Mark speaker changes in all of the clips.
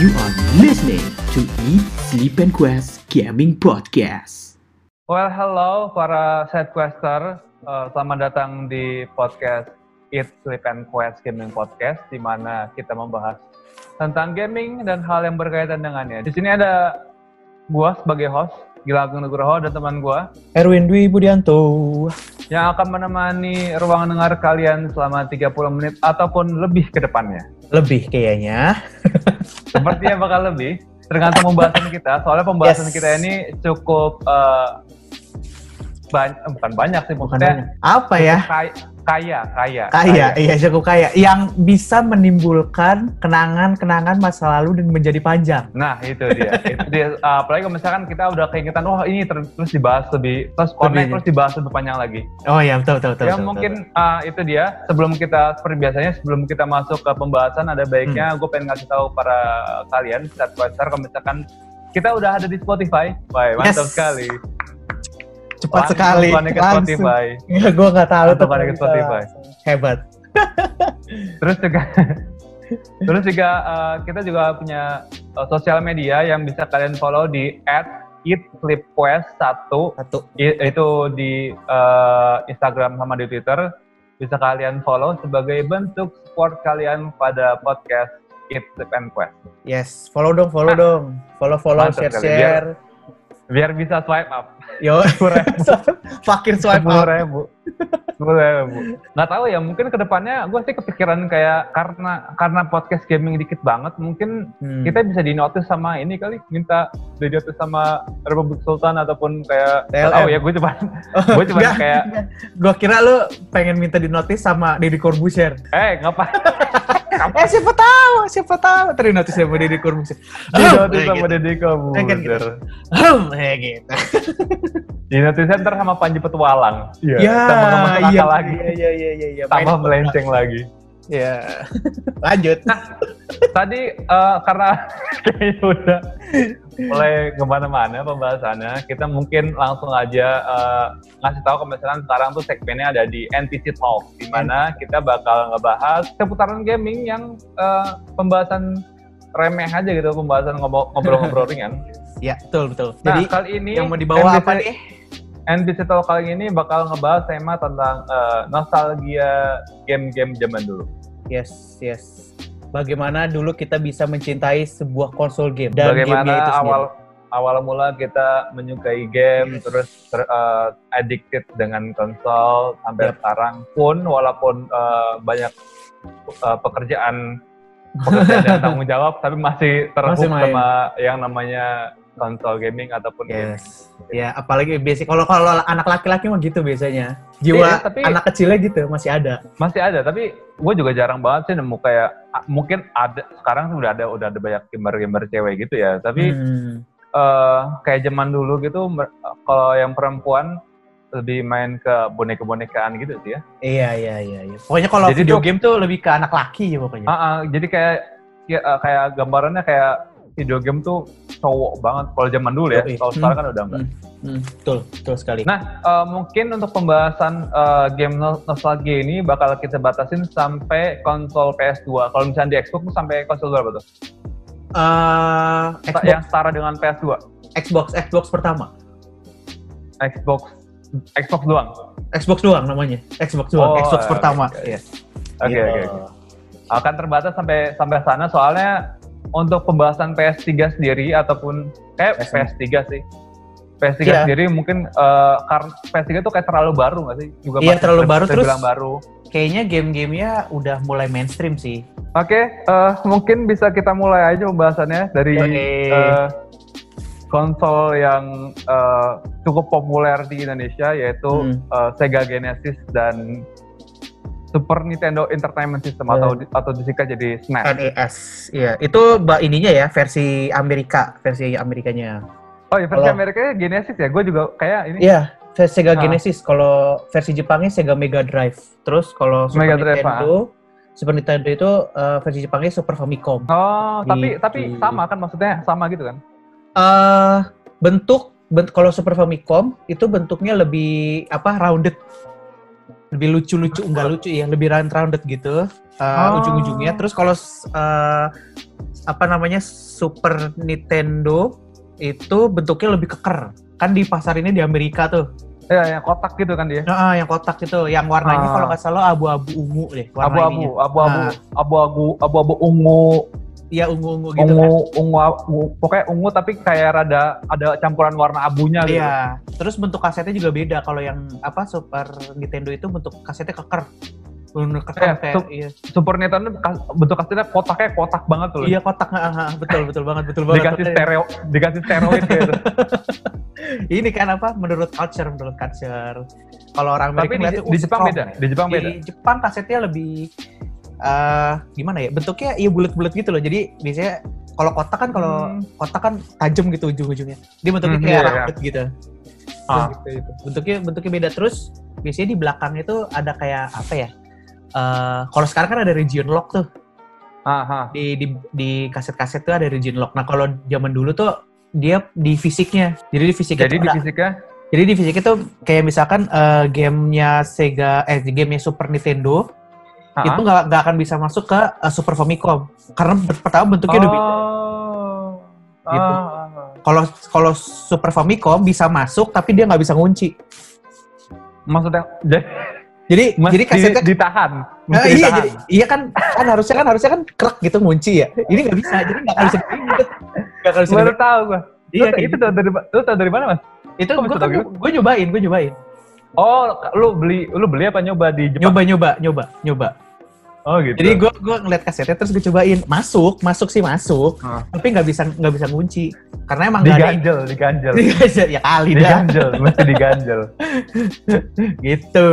Speaker 1: You are listening to Eat, Sleep, and Quest Gaming Podcast.
Speaker 2: Well, hello para sidequester. Uh, selamat datang di podcast Eat, Sleep, and Quest Gaming Podcast, di mana kita membahas tentang gaming dan hal yang berkaitan dengannya. Di sini ada gua sebagai host, Gila Agung Nugroho, dan teman gua
Speaker 3: Erwin Dwi Budianto.
Speaker 2: yang akan menemani ruang dengar kalian selama 30 menit ataupun lebih ke depannya.
Speaker 3: Lebih kayaknya.
Speaker 2: Sepertinya bakal lebih. Tergantung pembahasan kita. Soalnya pembahasan
Speaker 3: Yes.
Speaker 2: kita ini cukup eh, ban- eh, bukan banyak sih
Speaker 3: Bukan
Speaker 2: maksudnya
Speaker 3: banyak. Apa ya?
Speaker 2: kaya, kaya, kaya.
Speaker 3: Kaya, iya cukup kaya. Yang bisa menimbulkan kenangan-kenangan masa lalu dan menjadi panjang.
Speaker 2: Nah itu dia. itu dia. Eh, apalagi kalau misalkan kita udah keingetan, wah ini ter- terus dibahas lebih, terus connect,
Speaker 3: Lebih.
Speaker 2: terus dibahas lebih panjang lagi.
Speaker 3: Oh iya, betul, betul, betul.
Speaker 2: ya
Speaker 3: betul,
Speaker 2: mungkin
Speaker 3: betul.
Speaker 2: ah, itu dia. Sebelum kita seperti biasanya sebelum kita masuk ke pembahasan ada baiknya
Speaker 3: Hmm.
Speaker 2: gue pengen ngasih tahu para kalian saat pasar kalau misalkan kita udah ada di Spotify. Wah, mantap
Speaker 3: Yes.
Speaker 2: sekali.
Speaker 3: cepat
Speaker 2: Langsung
Speaker 3: sekali.
Speaker 2: connect ke
Speaker 3: Langsung.
Speaker 2: Spotify.
Speaker 3: Ya, gue nggak tahu
Speaker 2: Langsung
Speaker 3: tuh
Speaker 2: connect ke
Speaker 3: bisa
Speaker 2: Spotify.
Speaker 3: langsung. Hebat.
Speaker 2: Terus juga Terus juga eh, kita juga punya eh, sosial media yang bisa kalian follow di @eatsleepquest1
Speaker 3: Satu.
Speaker 2: I- itu di eh, Instagram sama di Twitter bisa kalian follow sebagai bentuk support kalian pada podcast Eat Sleep and Quest
Speaker 3: Yes, follow dong, follow dong. Follow, follow,
Speaker 2: Mantap
Speaker 3: share,
Speaker 2: sekali.
Speaker 3: share.
Speaker 2: biar bisa swipe up
Speaker 3: Yo, fakir swipe
Speaker 2: sepuluh
Speaker 3: up.
Speaker 2: ribu sepuluh ribu nggak tahu ya mungkin kedepannya gue sih kepikiran kayak karena karena podcast gaming dikit banget mungkin
Speaker 3: Hmm.
Speaker 2: kita bisa di notice sama ini kali minta di notice sama Republik Sultan ataupun kayak nggak
Speaker 3: TLM.
Speaker 2: tahu ya gue cuma gue cuma
Speaker 3: Nggak,
Speaker 2: kayak
Speaker 3: nggak. Gua kira lu pengen minta di notice sama Deddy Corbuzier.
Speaker 2: eh ngapain
Speaker 3: Eh siapa tahu, siapa tahu tadi notice sama Deddy Corbuzier.
Speaker 2: di
Speaker 3: Ahem,
Speaker 2: notice
Speaker 3: kayak
Speaker 2: sama
Speaker 3: gitu.
Speaker 2: Deddy kamu
Speaker 3: Kayak gitu. Ahem, kayak gitu.
Speaker 2: Di nanti center sama Panji Petualang. Iya.
Speaker 3: Ya,
Speaker 2: Tambah nggak masuk
Speaker 3: iya,
Speaker 2: akal lagi.
Speaker 3: iya, iya, iya, iya, iya.
Speaker 2: Tambah
Speaker 3: Main-
Speaker 2: melenceng lagi.
Speaker 3: Iya. Lanjut.
Speaker 2: Tadi eh, karena kayaknya udah mulai kemana-mana pembahasannya, kita mungkin langsung aja eh, ngasih tahu ke misalkan sekarang tuh segmennya ada di NPC Talk, di mana kita bakal ngebahas seputaran gaming yang eh, pembahasan remeh aja gitu, pembahasan ngobrol- ngobrol-ngobrol ringan.
Speaker 3: Ya, betul, betul.
Speaker 2: Nah,
Speaker 3: Jadi
Speaker 2: kali ini
Speaker 3: yang mau
Speaker 2: NPC
Speaker 3: dibawa apa nih?
Speaker 2: And Digital kali ini bakal ngebahas tema tentang eh, nostalgia game-game zaman dulu.
Speaker 3: Yes, yes. Bagaimana dulu kita bisa mencintai sebuah konsol game dan
Speaker 2: Bagaimana
Speaker 3: gamenya itu sendiri.
Speaker 2: awal awal mula kita menyukai game
Speaker 3: Yes.
Speaker 2: terus ter, eh, addicted dengan konsol sampai
Speaker 3: Yap.
Speaker 2: sekarang pun walaupun eh, banyak eh, pekerjaan pekerjaan dan tanggung jawab tapi masih terhubung
Speaker 3: Masih main.
Speaker 2: sama yang namanya konsol gaming ataupun game.
Speaker 3: Yes. Ya, apalagi basic kalau kalau anak laki-laki mah gitu biasanya.
Speaker 2: Iya,
Speaker 3: Jiwa
Speaker 2: tapi-
Speaker 3: anak kecilnya gitu masih ada.
Speaker 2: masih ada tapi gue juga jarang banget sih nemu kayak a- mungkin ada sekarang sudah ada udah ada banyak gamer-gamer cewek gitu ya tapi
Speaker 3: Hmm.
Speaker 2: eh, kayak zaman dulu gitu mer- kalau yang perempuan lebih main ke boneka-bonekaan gitu sih ya
Speaker 3: Iya, iya, iya, iya. Pokoknya kalau
Speaker 2: Jadi
Speaker 3: video
Speaker 2: tuh-
Speaker 3: game tuh lebih ke anak laki ya pokoknya.
Speaker 2: Ah, ah, jadi kayak ya, eh, kayak gambarannya kayak video game tuh cowok banget kalau zaman dulu ya
Speaker 3: Yoi.
Speaker 2: kalau sekarang kan udah enggak
Speaker 3: Hmm, betul, betul sekali.
Speaker 2: Nah, eh, mungkin untuk pembahasan eh, game no- nostalgia ini bakal kita batasin sampai konsol PS2. Kalau misalnya di Xbox tuh sampai konsol berapa tuh?
Speaker 3: Eh,
Speaker 2: Ta-
Speaker 3: Xbox,
Speaker 2: yang setara dengan PS2
Speaker 3: Xbox, Xbox pertama.
Speaker 2: Xbox Xbox doang oke
Speaker 3: Xbox doang namanya. Xbox
Speaker 2: Oh,
Speaker 3: doang, Xbox
Speaker 2: oke,
Speaker 3: pertama.
Speaker 2: oke.
Speaker 3: Yes.
Speaker 2: oke
Speaker 3: Gitu.
Speaker 2: oke. akan terbatas sampai sampai sana soalnya untuk pembahasan PS3 sendiri ataupun eh, kayak PS3
Speaker 3: PS3.
Speaker 2: sih PS3
Speaker 3: Iya.
Speaker 2: sendiri mungkin eh, karena PS3 tuh kayak terlalu baru nggak sih juga
Speaker 3: Iya,
Speaker 2: masih
Speaker 3: terlalu
Speaker 2: ter-
Speaker 3: baru, terus-
Speaker 2: terbilang baru
Speaker 3: Kayaknya game-gamenya udah mulai mainstream sih.
Speaker 2: oke eh, mungkin bisa kita mulai aja pembahasannya dari
Speaker 3: Oke.
Speaker 2: eh, konsol yang eh, cukup populer di Indonesia yaitu
Speaker 3: Hmm.
Speaker 2: eh, Sega Genesis dan Super Nintendo Entertainment System
Speaker 3: Yeah.
Speaker 2: atau atau disingkat jadi SNES.
Speaker 3: NES. Iya, itu ba- ininya ya versi Amerika, versi Amerikanya.
Speaker 2: Oh iya versi
Speaker 3: Kalau-
Speaker 2: Amerikanya Genesis ya. Gue juga kayak ini
Speaker 3: Iya, versi Sega
Speaker 2: Ah.
Speaker 3: Genesis. Kalau versi Jepangnya Sega Mega Drive. Terus kalau Super
Speaker 2: Mega Drive,
Speaker 3: Nintendo, Super Nintendo itu eh, versi Jepangnya Super Famicom.
Speaker 2: Oh, tapi
Speaker 3: Gitu.
Speaker 2: tapi sama kan maksudnya sama gitu kan?
Speaker 3: eh bentuk bent- kalau Super Famicom itu bentuknya lebih apa rounded lebih lucu-lucu enggak lucu ya lebih round-rounded gitu uh,
Speaker 2: Oh.
Speaker 3: ujung-ujungnya terus kalau s- uh, apa namanya Super Nintendo itu bentuknya lebih keker kan di pasar ini di Amerika tuh
Speaker 2: Ya, yang kotak gitu kan dia.
Speaker 3: nah, ah, yang kotak itu yang warnanya
Speaker 2: Ah.
Speaker 3: kalau nggak salah abu-abu ungu deh warna ininya.
Speaker 2: Abu-abu, abu-abu,
Speaker 3: Nah.
Speaker 2: abu-abu, abu-abu ungu,
Speaker 3: iya ungu-ungu gitu
Speaker 2: ungu,
Speaker 3: kan
Speaker 2: ungu, ungu, pokoknya ungu tapi kayak rada ada campuran warna abunya gitu.
Speaker 3: Iya, terus bentuk kasetnya juga beda. Kalau yang apa Super Nintendo itu bentuk kasetnya keker, benar keker
Speaker 2: Iya,
Speaker 3: kayak
Speaker 2: sup-
Speaker 3: iya.
Speaker 2: Super Nintendo kas- bentuk kasetnya kotaknya kotak banget loh.
Speaker 3: Iya ya. kotak, ah, ah, betul betul banget, betul banget.
Speaker 2: Dikasih
Speaker 3: Makanya-
Speaker 2: stereo, dikasih steroid gitu.
Speaker 3: Ini kan apa? Menurut culture, menurut culture. Kalau orang
Speaker 2: Tapi di,
Speaker 3: Amerika ngeliatnya,
Speaker 2: di
Speaker 3: "Uh,
Speaker 2: Jepang
Speaker 3: strong."
Speaker 2: beda, di Jepang beda.
Speaker 3: Di Jepang kasetnya lebih eh gimana ya? Bentuknya iya bulat-bulat gitu loh. Jadi biasanya kalau kotak kan kalau
Speaker 2: Hmm.
Speaker 3: kotak kan tajam gitu ujung-ujungnya. Dia bentuknya
Speaker 2: Hmm,
Speaker 3: kayak
Speaker 2: iya, iya.
Speaker 3: rambut gitu. Terus
Speaker 2: Ah.
Speaker 3: gitu, gitu. Bentuknya bentuknya beda terus. Biasanya di belakang itu ada kayak apa ya? Eh kalau sekarang kan ada region lock tuh
Speaker 2: Aha.
Speaker 3: di di di kaset-kaset tuh ada region lock. Nah kalau zaman dulu tuh dia di fisiknya. Jadi di fisiknya
Speaker 2: Jadi
Speaker 3: tuh
Speaker 2: di
Speaker 3: ada-
Speaker 2: fisiknya,
Speaker 3: jadi di fisik itu kayak misalkan eh, gamenya Sega, eh gamenya Super Nintendo
Speaker 2: aha.
Speaker 3: itu nggak nggak akan bisa masuk ke eh, Super Famicom karena ber- pertama bentuknya udah beda.
Speaker 2: Oh.
Speaker 3: Gitu.
Speaker 2: Ah, ah, ah.
Speaker 3: Kalau kalau Super Famicom bisa masuk tapi dia nggak bisa ngunci.
Speaker 2: Maksudnya, jadi,
Speaker 3: Jadi
Speaker 2: jadi
Speaker 3: jadi kasetnya
Speaker 2: ditahan.
Speaker 3: Eh,
Speaker 2: Mesti
Speaker 3: iya,
Speaker 2: ditahan.
Speaker 3: jadi, iya kan, kan harusnya kan harusnya kan krek gitu ngunci ya. Ini nggak bisa, jadi nggak akan bisa. Nggak akan bisa.
Speaker 2: Baru tahu gua. Lu
Speaker 3: Iya,
Speaker 2: ta-
Speaker 3: kayak
Speaker 2: itu
Speaker 3: gitu.
Speaker 2: tau dari lu tau dari mana mas?
Speaker 3: itu
Speaker 2: kok bisa
Speaker 3: gue kan,
Speaker 2: tahu gitu?
Speaker 3: gue nyobain, gue nyobain.
Speaker 2: Oh, lu beli lu beli apa nyoba di Jepang?
Speaker 3: Nyoba, nyoba, nyoba, nyoba.
Speaker 2: Oh gitu.
Speaker 3: Jadi gue gue ngeliat kasetnya terus gue cobain, masuk, masuk sih masuk.
Speaker 2: Ah.
Speaker 3: tapi nggak bisa nggak bisa ngunci karena emang nggak ada
Speaker 2: diganjel, diganjel,
Speaker 3: Diganjel. ya kali dah
Speaker 2: diganjel, mesti diganjel.
Speaker 3: gitu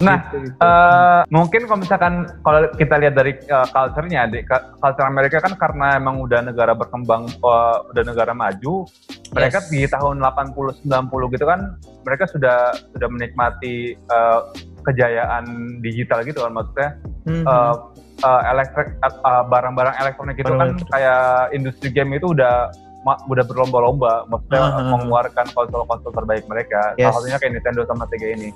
Speaker 2: Nah,
Speaker 3: Gitu, gitu.
Speaker 2: Eh, mungkin kalau misalkan kalau kita lihat dari eh, culture-nya, di ka- culture Amerika kan karena emang udah negara berkembang, eh, udah negara maju, mereka
Speaker 3: Yes.
Speaker 2: di tahun 80 90 gitu kan mereka sudah sudah menikmati eh, kejayaan digital gitu kan maksudnya
Speaker 3: Mhm.
Speaker 2: eh, eh, elektrik eh, eh, barang-barang elektronik itu kan
Speaker 3: Barang-barang.
Speaker 2: kayak industri game itu udah ma- udah berlomba-lomba maksudnya
Speaker 3: Ah, ah, ah.
Speaker 2: mengeluarkan konsol-konsol terbaik mereka
Speaker 3: Yes.
Speaker 2: salah satunya kayak Nintendo sama Sega ini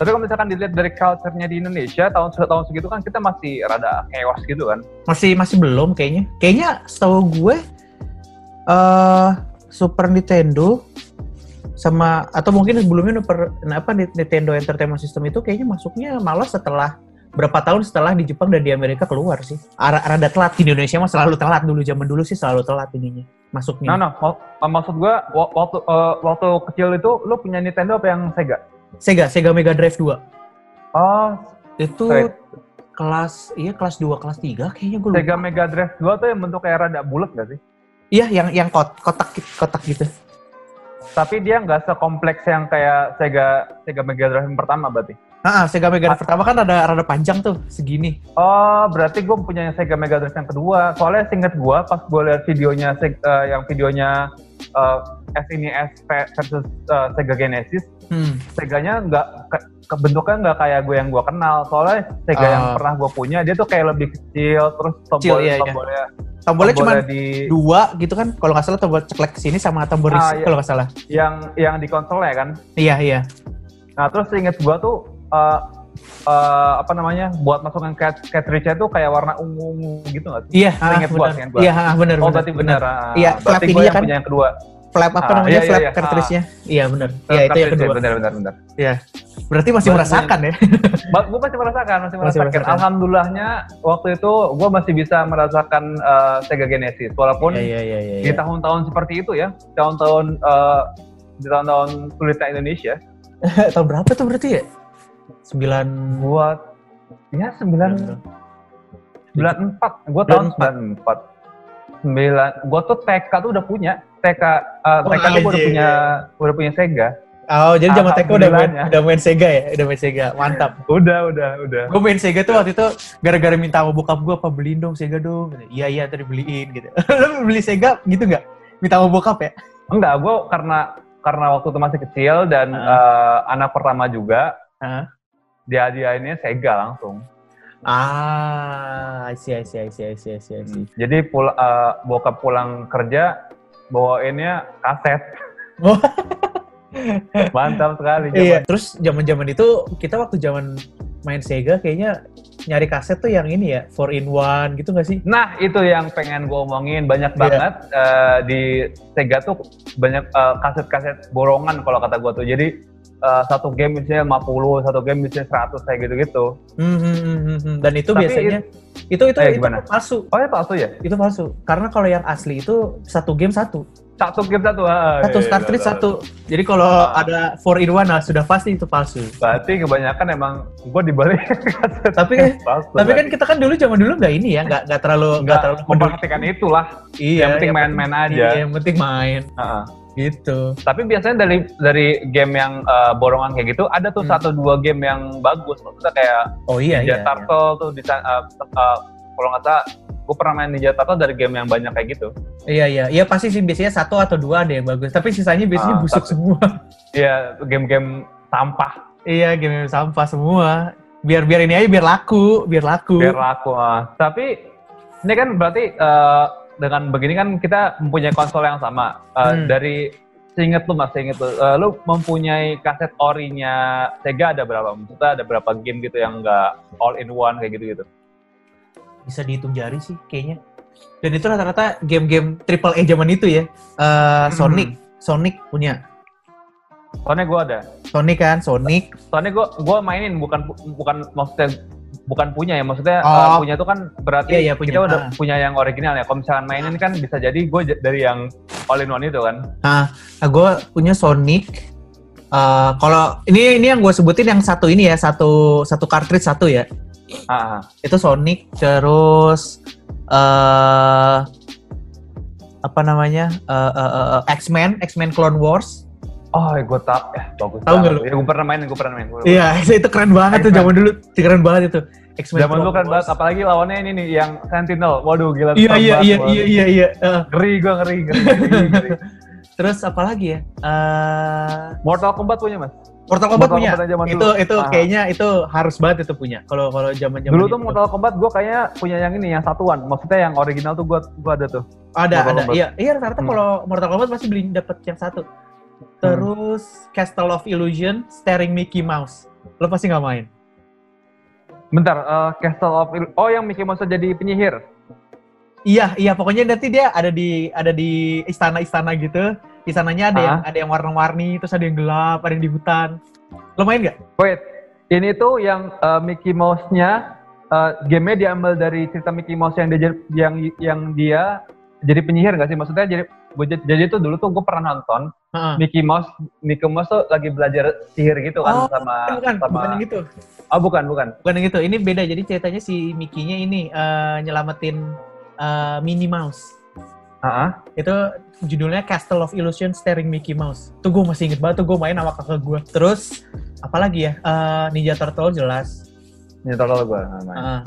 Speaker 2: tapi kalau misalkan dilihat dari culture-nya di Indonesia tahun tahun segitu kan kita masih rada chaos gitu kan
Speaker 3: masih masih belum kayaknya kayaknya setahu gue eh Super Nintendo sama atau mungkin sebelumnya Super- nah, apa Nintendo Entertainment System itu kayaknya masuknya malah setelah berapa tahun setelah di Jepang dan di Amerika keluar sih Ara- rada telat di Indonesia mah selalu telat dulu zaman dulu sih selalu telat ininya
Speaker 2: nah
Speaker 3: masuknya
Speaker 2: nah mak- maksud gua wa- waktu eh, waktu kecil itu lu punya Nintendo apa yang Sega
Speaker 3: Sega Sega Mega Drive 2 Ah,
Speaker 2: oh
Speaker 3: itu
Speaker 2: Right.
Speaker 3: kelas iya kelas 2 kelas 3 kayaknya gue lupa.
Speaker 2: Sega Mega Drive 2 tuh yang bentuk kayak rada bulat gak sih
Speaker 3: Iya yang yang kot- kotak kotak gitu.
Speaker 2: tapi dia nggak sekompleks yang kayak Sega Sega Mega Drive yang pertama berarti
Speaker 3: Heeh, Sega
Speaker 2: Ah.
Speaker 3: Mega Drive pertama kan ada rada panjang tuh segini.
Speaker 2: Oh, berarti gue punya yang Sega Mega Drive yang kedua. Soalnya singkat gue pas gue lihat videonya Seg- eh, yang videonya eh, SNES ve- versus eh, Sega Genesis,
Speaker 3: Hmm.
Speaker 2: Seganya nggak ke- ke- bentuknya nggak kayak gue yang gue kenal. Soalnya Sega yang
Speaker 3: Ah.
Speaker 2: pernah gue punya dia tuh kayak lebih kecil, terus
Speaker 3: Kecil,
Speaker 2: tombol
Speaker 3: iya, iya.
Speaker 2: tombolnya,
Speaker 3: Tombolnya cuma
Speaker 2: tombolnya di
Speaker 3: dua gitu kan kalau nggak salah tombol ceklek sini sama tombol
Speaker 2: Ah,
Speaker 3: reset
Speaker 2: iya.
Speaker 3: kalau nggak salah.
Speaker 2: yang yang di konsolnya kan.
Speaker 3: Iya iya.
Speaker 2: Nah, terus seinget gue tuh eh, eh, apa namanya buat masukan cat- cartridge-nya tuh kayak warna ungu-ungu gitu nggak sih?
Speaker 3: Iya, ah,
Speaker 2: Seingat gua,
Speaker 3: benar.
Speaker 2: seingat gua.
Speaker 3: Iya, ah, benar.
Speaker 2: Oh,
Speaker 3: benar,
Speaker 2: berarti benar. Ah,
Speaker 3: Iya, flap
Speaker 2: berarti gue
Speaker 3: ininya
Speaker 2: yang
Speaker 3: kan.
Speaker 2: punya yang kedua.
Speaker 3: Flap apa
Speaker 2: Ah,
Speaker 3: namanya?
Speaker 2: iya,
Speaker 3: flap
Speaker 2: iya, iya.
Speaker 3: cartridge-nya. Iya, benar. Iya, itu yang
Speaker 2: Cartridge,
Speaker 3: kedua.
Speaker 2: Benar, benar, benar.
Speaker 3: Iya. Berarti masih
Speaker 2: Berarti-
Speaker 3: merasakan ya.
Speaker 2: gue masih merasakan, masih
Speaker 3: Masih
Speaker 2: merasakan.
Speaker 3: merasakan.
Speaker 2: Alhamdulillahnya waktu itu gue masih bisa merasakan eh, Sega Genesis, walaupun
Speaker 3: iya, iya.
Speaker 2: di tahun-tahun seperti itu ya, tahun-tahun eh, di tahun-tahun sulitnya Indonesia,
Speaker 3: Tahun berapa tuh berarti ya? 9
Speaker 2: buat ya
Speaker 3: Iya,
Speaker 2: sembilan sembilan empat, gue tahun sembilan empat sembilan, gue tuh TK tuh udah punya TK, eh,
Speaker 3: Wah,
Speaker 2: TK tuh gue udah
Speaker 3: anjing.
Speaker 2: punya,
Speaker 3: iya.
Speaker 2: udah punya Sega,
Speaker 3: Oh, jadi zaman TK udah main,
Speaker 2: Alhamdulillahnya.
Speaker 3: udah main Sega ya? Udah main Sega, mantap.
Speaker 2: udah, udah, udah.
Speaker 3: Gue main Sega tuh waktu itu gara-gara minta sama bokap gue, apa beliin dong Sega dong. Gitu. Iya, iya, tadi beliin gitu. Lo beli Sega gitu nggak? Minta sama bokap ya?
Speaker 2: Enggak, gue karena karena waktu itu masih kecil dan
Speaker 3: Ah.
Speaker 2: eh, anak pertama juga,
Speaker 3: Ah.
Speaker 2: dia hadiahinnya Sega langsung.
Speaker 3: Ah, I see, I see, I see, I see, I see, I see.
Speaker 2: Jadi pul eh, bokap pulang kerja bawainnya kaset.
Speaker 3: Wah.
Speaker 2: Mantap sekali.
Speaker 3: Hmm. Iya. Terus zaman-zaman itu kita waktu zaman main Sega kayaknya nyari kaset tuh yang ini ya, 4 in 1 gitu nggak sih?
Speaker 2: Nah, itu yang pengen gue omongin. Banyak
Speaker 3: Iya.
Speaker 2: banget eh, di Sega tuh banyak eh, kaset-kaset borongan kalau kata gue tuh. Jadi eh, satu game misalnya 50, satu game misalnya 100 kayak gitu-gitu.
Speaker 3: Hmm, hmm, hmm, hmm, hmm. Dan itu
Speaker 2: Tapi
Speaker 3: biasanya itu itu
Speaker 2: Eh,
Speaker 3: itu
Speaker 2: gimana?
Speaker 3: palsu.
Speaker 2: Oh ya palsu ya?
Speaker 3: Itu palsu. Karena kalau yang asli itu satu game satu.
Speaker 2: Satu game satu. ah,
Speaker 3: Satu
Speaker 2: iya,
Speaker 3: Star
Speaker 2: iya,
Speaker 3: Trek
Speaker 2: iya.
Speaker 3: satu. Ah. Jadi kalau ada 4 in 1 nah sudah pasti itu palsu.
Speaker 2: Berarti kebanyakan emang gue dibalik kaset
Speaker 3: Tapi kan
Speaker 2: palsu.
Speaker 3: tapi kan kita kan dulu zaman dulu nggak ini ya, nggak nggak terlalu nggak
Speaker 2: nggak
Speaker 3: terlalu
Speaker 2: memperhatikan itulah.
Speaker 3: Iya,
Speaker 2: yang penting main-main aja.
Speaker 3: Iya, yang penting main
Speaker 2: Heeh.
Speaker 3: gitu.
Speaker 2: Tapi biasanya dari dari game yang eh, borongan kayak gitu ada tuh
Speaker 3: Hmm.
Speaker 2: satu dua game yang bagus. Maksudnya kayak
Speaker 3: Oh iya
Speaker 2: Ninja
Speaker 3: iya. iya.
Speaker 2: Turtle tuh di sa- uh, uh, kalau nggak salah gue pernah main Ninja Turtle dari game yang banyak kayak gitu.
Speaker 3: Iya iya, iya pasti sih biasanya satu atau dua ada yang bagus, tapi sisanya biasanya
Speaker 2: Ah,
Speaker 3: busuk
Speaker 2: tapi-
Speaker 3: semua.
Speaker 2: Iya, game-game sampah
Speaker 3: iya, game sampah semua. Biar biar ini aja biar laku, biar laku.
Speaker 2: biar laku. ah. Tapi ini kan berarti uh, dengan begini kan kita mempunyai konsol yang sama. Uh,
Speaker 3: Hmm.
Speaker 2: Dari seinget lu mas, seinget lu, uh, lu mempunyai kaset orinya Sega ada berapa? Maksudnya ada berapa game gitu yang nggak all in one kayak gitu-gitu?
Speaker 3: Bisa dihitung jari sih kayaknya. Dan itu rata-rata game-game triple A zaman itu ya. Eh,
Speaker 2: Hmm.
Speaker 3: Sonic, Sonic punya.
Speaker 2: Soalnya gue ada.
Speaker 3: Sonic kan, Sonic.
Speaker 2: Soalnya gue gua mainin bukan bukan maksudnya bukan punya ya maksudnya uh,
Speaker 3: Oh.
Speaker 2: punya itu kan berarti
Speaker 3: Iya, iya, punya.
Speaker 2: kita udah
Speaker 3: Ah.
Speaker 2: punya yang original ya. Kalau misalkan mainin kan bisa jadi gue dari yang all in one itu kan.
Speaker 3: Nah, gue punya Sonic. Eh, kalau ini ini yang gue sebutin yang satu ini ya, satu satu cartridge satu ya.
Speaker 2: Ah, ah.
Speaker 3: itu Sonic terus eh apa namanya eh, eh, eh, eh, X-Men X-Men Clone Wars
Speaker 2: oh gue tau eh bagus.
Speaker 3: Tahu nggak lu?
Speaker 2: gue pernah main, gue pernah main. Gua pernah
Speaker 3: iya itu keren banget tuh
Speaker 2: X-Men.
Speaker 3: zaman dulu keren banget itu
Speaker 2: main.
Speaker 3: X-Men
Speaker 2: Zaman dulu kan banget, apalagi lawannya ini nih yang Sentinel. Waduh gila.
Speaker 3: iya
Speaker 2: serem
Speaker 3: iya
Speaker 2: banget
Speaker 3: iya
Speaker 2: gua.
Speaker 3: iya iya iya eh.
Speaker 2: Ngeri gue ngeri, ngeri, ngeri, ngeri.
Speaker 3: terus apa lagi ya Eh
Speaker 2: Mortal Kombat punya mas.
Speaker 3: Mortal Kombat
Speaker 2: Mortal
Speaker 3: punya
Speaker 2: Kombat yang zaman
Speaker 3: itu
Speaker 2: dulu.
Speaker 3: itu
Speaker 2: Ah.
Speaker 3: kayaknya itu harus banget itu punya kalau kalau gitu. zaman zaman
Speaker 2: Dulu tuh Mortal Kombat gue kayaknya punya yang ini yang satuan. Maksudnya yang original tuh gue gue ada tuh.
Speaker 3: ada
Speaker 2: Mortal
Speaker 3: ada
Speaker 2: Kombat.
Speaker 3: iya iya rata-rata
Speaker 2: Hmm.
Speaker 3: kalau Mortal Kombat pasti beli dapet yang satu terus Castle of Illusion Staring Mickey Mouse lo pasti nggak main
Speaker 2: Bentar, eh, Castle of Il- Oh yang Mickey Mouse jadi penyihir.
Speaker 3: Iya, iya. Pokoknya nanti dia ada di ada di istana-istana gitu. Istananya ada
Speaker 2: Ah.
Speaker 3: yang ada yang warna-warni, terus ada yang gelap, ada yang di hutan. Lo main nggak?
Speaker 2: Wait, ini tuh yang uh, Mickey Mouse-nya uh, gamenya diambil dari cerita Mickey Mouse yang dia yang yang dia jadi penyihir nggak sih? Maksudnya jadi gua jad- jadi tuh dulu tuh gue pernah nonton
Speaker 3: Heeh.
Speaker 2: Mickey Mouse Mickey Mouse tuh lagi belajar sihir gitu kan
Speaker 3: Oh,
Speaker 2: sama
Speaker 3: bukan,
Speaker 2: sama
Speaker 3: bukan yang itu.
Speaker 2: oh bukan bukan
Speaker 3: Bukan yang itu. Ini beda. Jadi ceritanya si Mickey-nya ini eh, nyelamatin eh, Minnie Mouse.
Speaker 2: Heeh.
Speaker 3: Itu judulnya Castle of Illusion Staring Mickey Mouse. Tuh gue masih inget banget tuh gue main sama kakak gue. Terus apalagi ya? Eh, Ninja Turtle jelas.
Speaker 2: ini tolol Nah, gue
Speaker 3: Ah,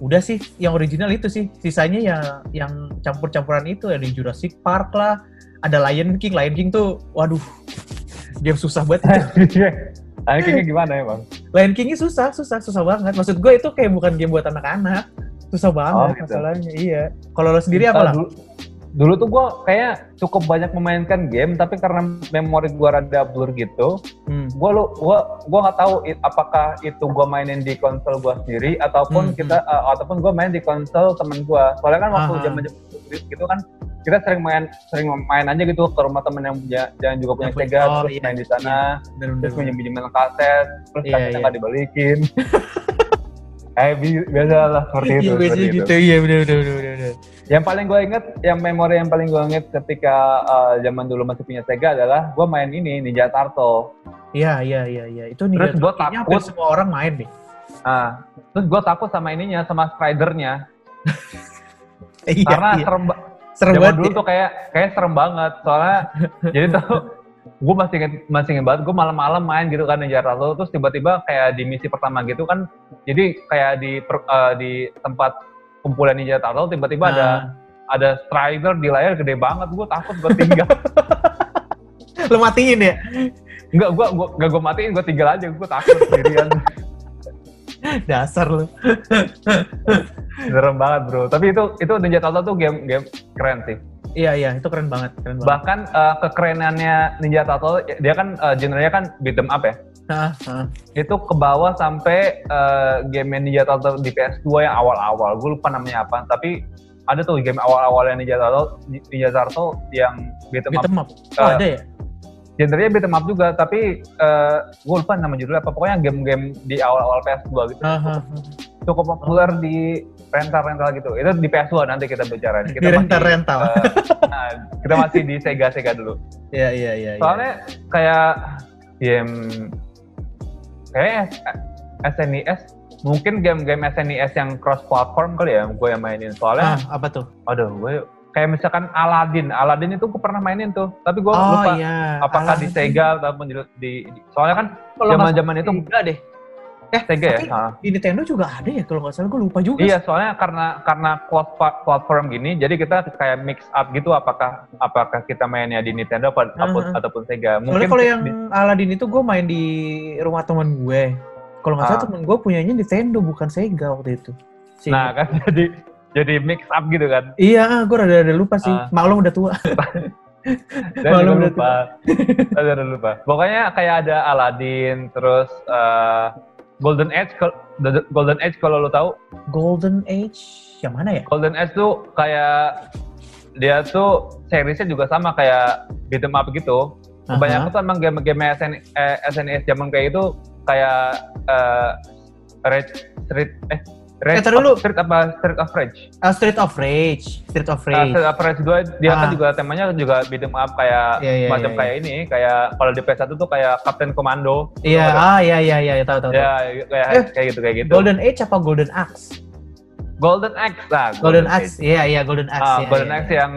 Speaker 3: udah sih, yang original itu sih. Sisanya ya yang campur-campuran itu ada Jurassic Park lah, ada Lion King. Lion King tuh, waduh, game susah banget.
Speaker 2: Nah, kayak gimana ya bang?
Speaker 3: Lion Kingnya susah, susah, susah banget. Maksud gue itu kayak bukan game buat anak-anak, susah
Speaker 2: Oh, gitu.
Speaker 3: banget masalahnya. Iya. Kalau lo sendiri
Speaker 2: Nah,
Speaker 3: apa lah?
Speaker 2: Dulu, dulu tuh gue kayak cukup banyak memainkan game, tapi karena memori gue rada blur gitu,
Speaker 3: Hmm.
Speaker 2: gue lu gua gua nggak tahu i- apakah itu gue mainin di konsol gue sendiri ataupun
Speaker 3: Hmm,
Speaker 2: kita eh, ataupun gue main di konsol temen gue soalnya kan waktu
Speaker 3: Aha.
Speaker 2: zaman gitu kan kita sering main sering main aja gitu ke rumah temen yang punya yang juga punya
Speaker 3: Yang punya-
Speaker 2: Sega
Speaker 3: oh,
Speaker 2: terus
Speaker 3: iya,
Speaker 2: main di sana
Speaker 3: Bener, bener,
Speaker 2: terus
Speaker 3: bener.
Speaker 2: minjem minjemin kaset terus
Speaker 3: Iya,
Speaker 2: kasetnya
Speaker 3: iya.
Speaker 2: nggak dibalikin eh bi- biasa lah seperti itu,
Speaker 3: Iya,
Speaker 2: seperti
Speaker 3: biasanya
Speaker 2: itu.
Speaker 3: gitu. Iya, bener, bener, bener, bener, bener.
Speaker 2: yang paling gue inget yang memori yang paling gue inget ketika eh, zaman dulu masih punya Sega adalah gue main ini Ninja Turtle
Speaker 3: Iya, iya, iya, iya. Itu
Speaker 2: Terus
Speaker 3: nih.
Speaker 2: gua takut.
Speaker 3: semua orang main deh.
Speaker 2: Ah, terus gue takut sama ininya, sama stridernya,
Speaker 3: Iya,
Speaker 2: karena
Speaker 3: iya.
Speaker 2: serem, ba-
Speaker 3: serem
Speaker 2: zaman
Speaker 3: banget.
Speaker 2: dulu
Speaker 3: ya.
Speaker 2: tuh kayak kayak serem banget, soalnya jadi tuh gue masih inget, masih inget banget, gue malam-malam main gitu kan Ninja Turtle, terus tiba-tiba kayak di misi pertama gitu kan, jadi kayak di per- eh, di tempat kumpulan Ninja Turtle tiba-tiba ada
Speaker 3: Ah.
Speaker 2: ada strider di layar gede banget, gue takut gue tinggal,
Speaker 3: Nah, lo matiin ya.
Speaker 2: nggak gue gua nggak gue matiin, gue tinggal aja, gue takut sendirian,
Speaker 3: Dasar lo.
Speaker 2: serem banget bro, tapi itu itu Ninja Turtle tuh game game keren sih.
Speaker 3: Iya iya itu keren banget keren banget.
Speaker 2: bahkan eh, kekerenannya Ninja Turtle dia kan eh, genre-nya kan beat 'em up ya
Speaker 3: Nah, nah.
Speaker 2: itu ke bawah sampai eh, game yang Ninja Turtle di PS2 yang awal-awal. Gue lupa namanya apa, tapi ada tuh game awal-awal yang Ninja Turtle, Ninja Turtle yang beat'em up.
Speaker 3: Beat 'em up. Oh,
Speaker 2: Eh,
Speaker 3: ada ya?
Speaker 2: Gendernya beat'em up juga, tapi eh gue lupa nama judulnya apa. Pokoknya game-game di awal-awal PS2 gitu.
Speaker 3: Ah, ah, ah.
Speaker 2: Cukup populer di rental-rental gitu. Itu di PS2 nanti kita bicara. Kita
Speaker 3: Di
Speaker 2: masih,
Speaker 3: rental-rental.
Speaker 2: eh, nah, kita masih di Sega-Sega dulu.
Speaker 3: Iya, iya, iya. iya.
Speaker 2: soalnya kayak game kayak SNES E mungkin game-game SNES yang cross platform kali ya gue yang mainin
Speaker 3: Ah,
Speaker 2: soalnya
Speaker 3: apa tuh?
Speaker 2: aduh gue kayak misalkan Aladdin Aladdin itu gue pernah mainin tuh tapi gue lupa
Speaker 3: iya.
Speaker 2: apakah di
Speaker 3: Aladdin.
Speaker 2: Sega ataupun di, di- di- soalnya kan
Speaker 4: Kalau nggak
Speaker 2: zaman-zaman itu
Speaker 4: Enggak deh.
Speaker 2: Sega ya
Speaker 3: Eh, tapi-
Speaker 2: Ah.
Speaker 3: Di Nintendo juga ada ya kalau nggak salah gue lupa juga.
Speaker 2: Iya, soalnya karena karena cross pla- platform gini, jadi kita kayak mix up gitu apakah apakah kita mainnya di Nintendo apa,
Speaker 3: Uh-huh.
Speaker 2: ataupun Sega.
Speaker 3: Soalnya kalau
Speaker 2: di-
Speaker 3: yang Aladdin itu gue main di rumah temen gue. Kalau nggak salah
Speaker 2: Ah.
Speaker 3: temen gue punyanya Nintendo bukan Sega waktu itu. Sih.
Speaker 2: Nah kan jadi jadi mix up gitu kan.
Speaker 3: Iya, gue rada-rada lupa sih.
Speaker 2: Ah.
Speaker 3: Maklum udah tua.
Speaker 2: Dan
Speaker 3: Malu
Speaker 2: juga
Speaker 3: berarti.
Speaker 2: lupa. Saya juga lupa. Pokoknya kayak ada Aladdin, terus eh, Golden Age. kal- The- The- Golden Age kalau lo tahu,
Speaker 3: Golden Age yang mana ya?
Speaker 2: Golden Age tuh kayak dia tuh seriesnya juga sama kayak beat 'em up gitu. Kebanyakan tuh emang game-game SN, eh, SNES zaman kayak itu kayak eh, Red Street eh Red
Speaker 3: Eh, taruh dulu.
Speaker 2: Street apa Street of Rage.
Speaker 3: Ah, Street of Rage. Street of
Speaker 2: Nah,
Speaker 3: Rage.
Speaker 2: Street of Rage 2 dia kan
Speaker 3: Ah.
Speaker 2: juga temanya juga beat 'em up kayak
Speaker 3: Iya, iya,
Speaker 2: macam
Speaker 3: iya,
Speaker 2: kayak ini kayak kalau di PS1 tuh kayak Captain Commando.
Speaker 3: Iya,
Speaker 2: Tau
Speaker 3: ah iya iya iya tahu tahu.
Speaker 2: nggak? Ya kayak
Speaker 3: Eh,
Speaker 2: kayak gitu kayak gitu.
Speaker 3: Golden Age apa Golden Axe?
Speaker 2: Golden Axe lah.
Speaker 3: Golden Axe. Iya iya Golden Axe.
Speaker 2: Ah,
Speaker 3: iya,
Speaker 2: Golden
Speaker 3: iya,
Speaker 2: Axe
Speaker 3: iya.
Speaker 2: yang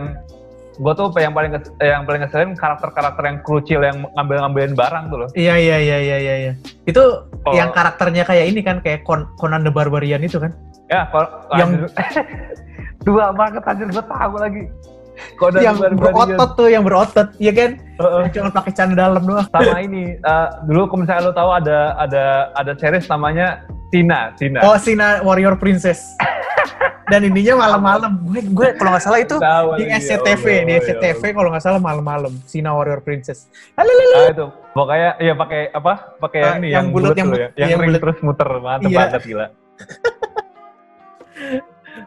Speaker 2: gua tuh yang paling kes- yang paling ngeselin karakter-karakter yang krucil yang ngambil-ngambilin barang tuh loh.
Speaker 3: Iya iya iya iya iya. iya. Itu
Speaker 2: Oh.
Speaker 3: yang karakternya kayak ini kan kayak Con- Conan the Barbarian itu kan?
Speaker 2: Ya kalau
Speaker 3: Yang-
Speaker 2: anjir. dua banget anjir gua tahu lagi. Golden
Speaker 3: yang
Speaker 2: Barbarian. Oh.
Speaker 3: berotot tuh, yang berotot, iya kan?
Speaker 2: Heeh.
Speaker 3: Cuma pakai celana dalam doang.
Speaker 2: sama ini eh, dulu kalau misalnya lo tahu ada ada ada series namanya Tina Tina
Speaker 3: Oh, Sina Warrior Princess. Dan ininya malam-malam. Gue gue kalau nggak salah itu
Speaker 2: Tahu
Speaker 3: di
Speaker 2: lagi, ya
Speaker 3: SCTV,
Speaker 2: Allah,
Speaker 3: di
Speaker 2: ya
Speaker 3: SCTV
Speaker 2: Allah.
Speaker 3: kalau nggak salah malam-malam. Sina Warrior Princess. Lalalala.
Speaker 2: Nah, itu pokoknya ya pakai apa? Pakai
Speaker 3: Ah,
Speaker 2: yang ini
Speaker 3: yang
Speaker 2: yang
Speaker 3: bulat,
Speaker 2: bulat
Speaker 3: yang
Speaker 2: tuh ya.
Speaker 3: bu-
Speaker 2: Yang,
Speaker 3: yang
Speaker 2: ring
Speaker 3: bulat.
Speaker 2: terus muter mantep
Speaker 3: Iya.
Speaker 2: banget gila.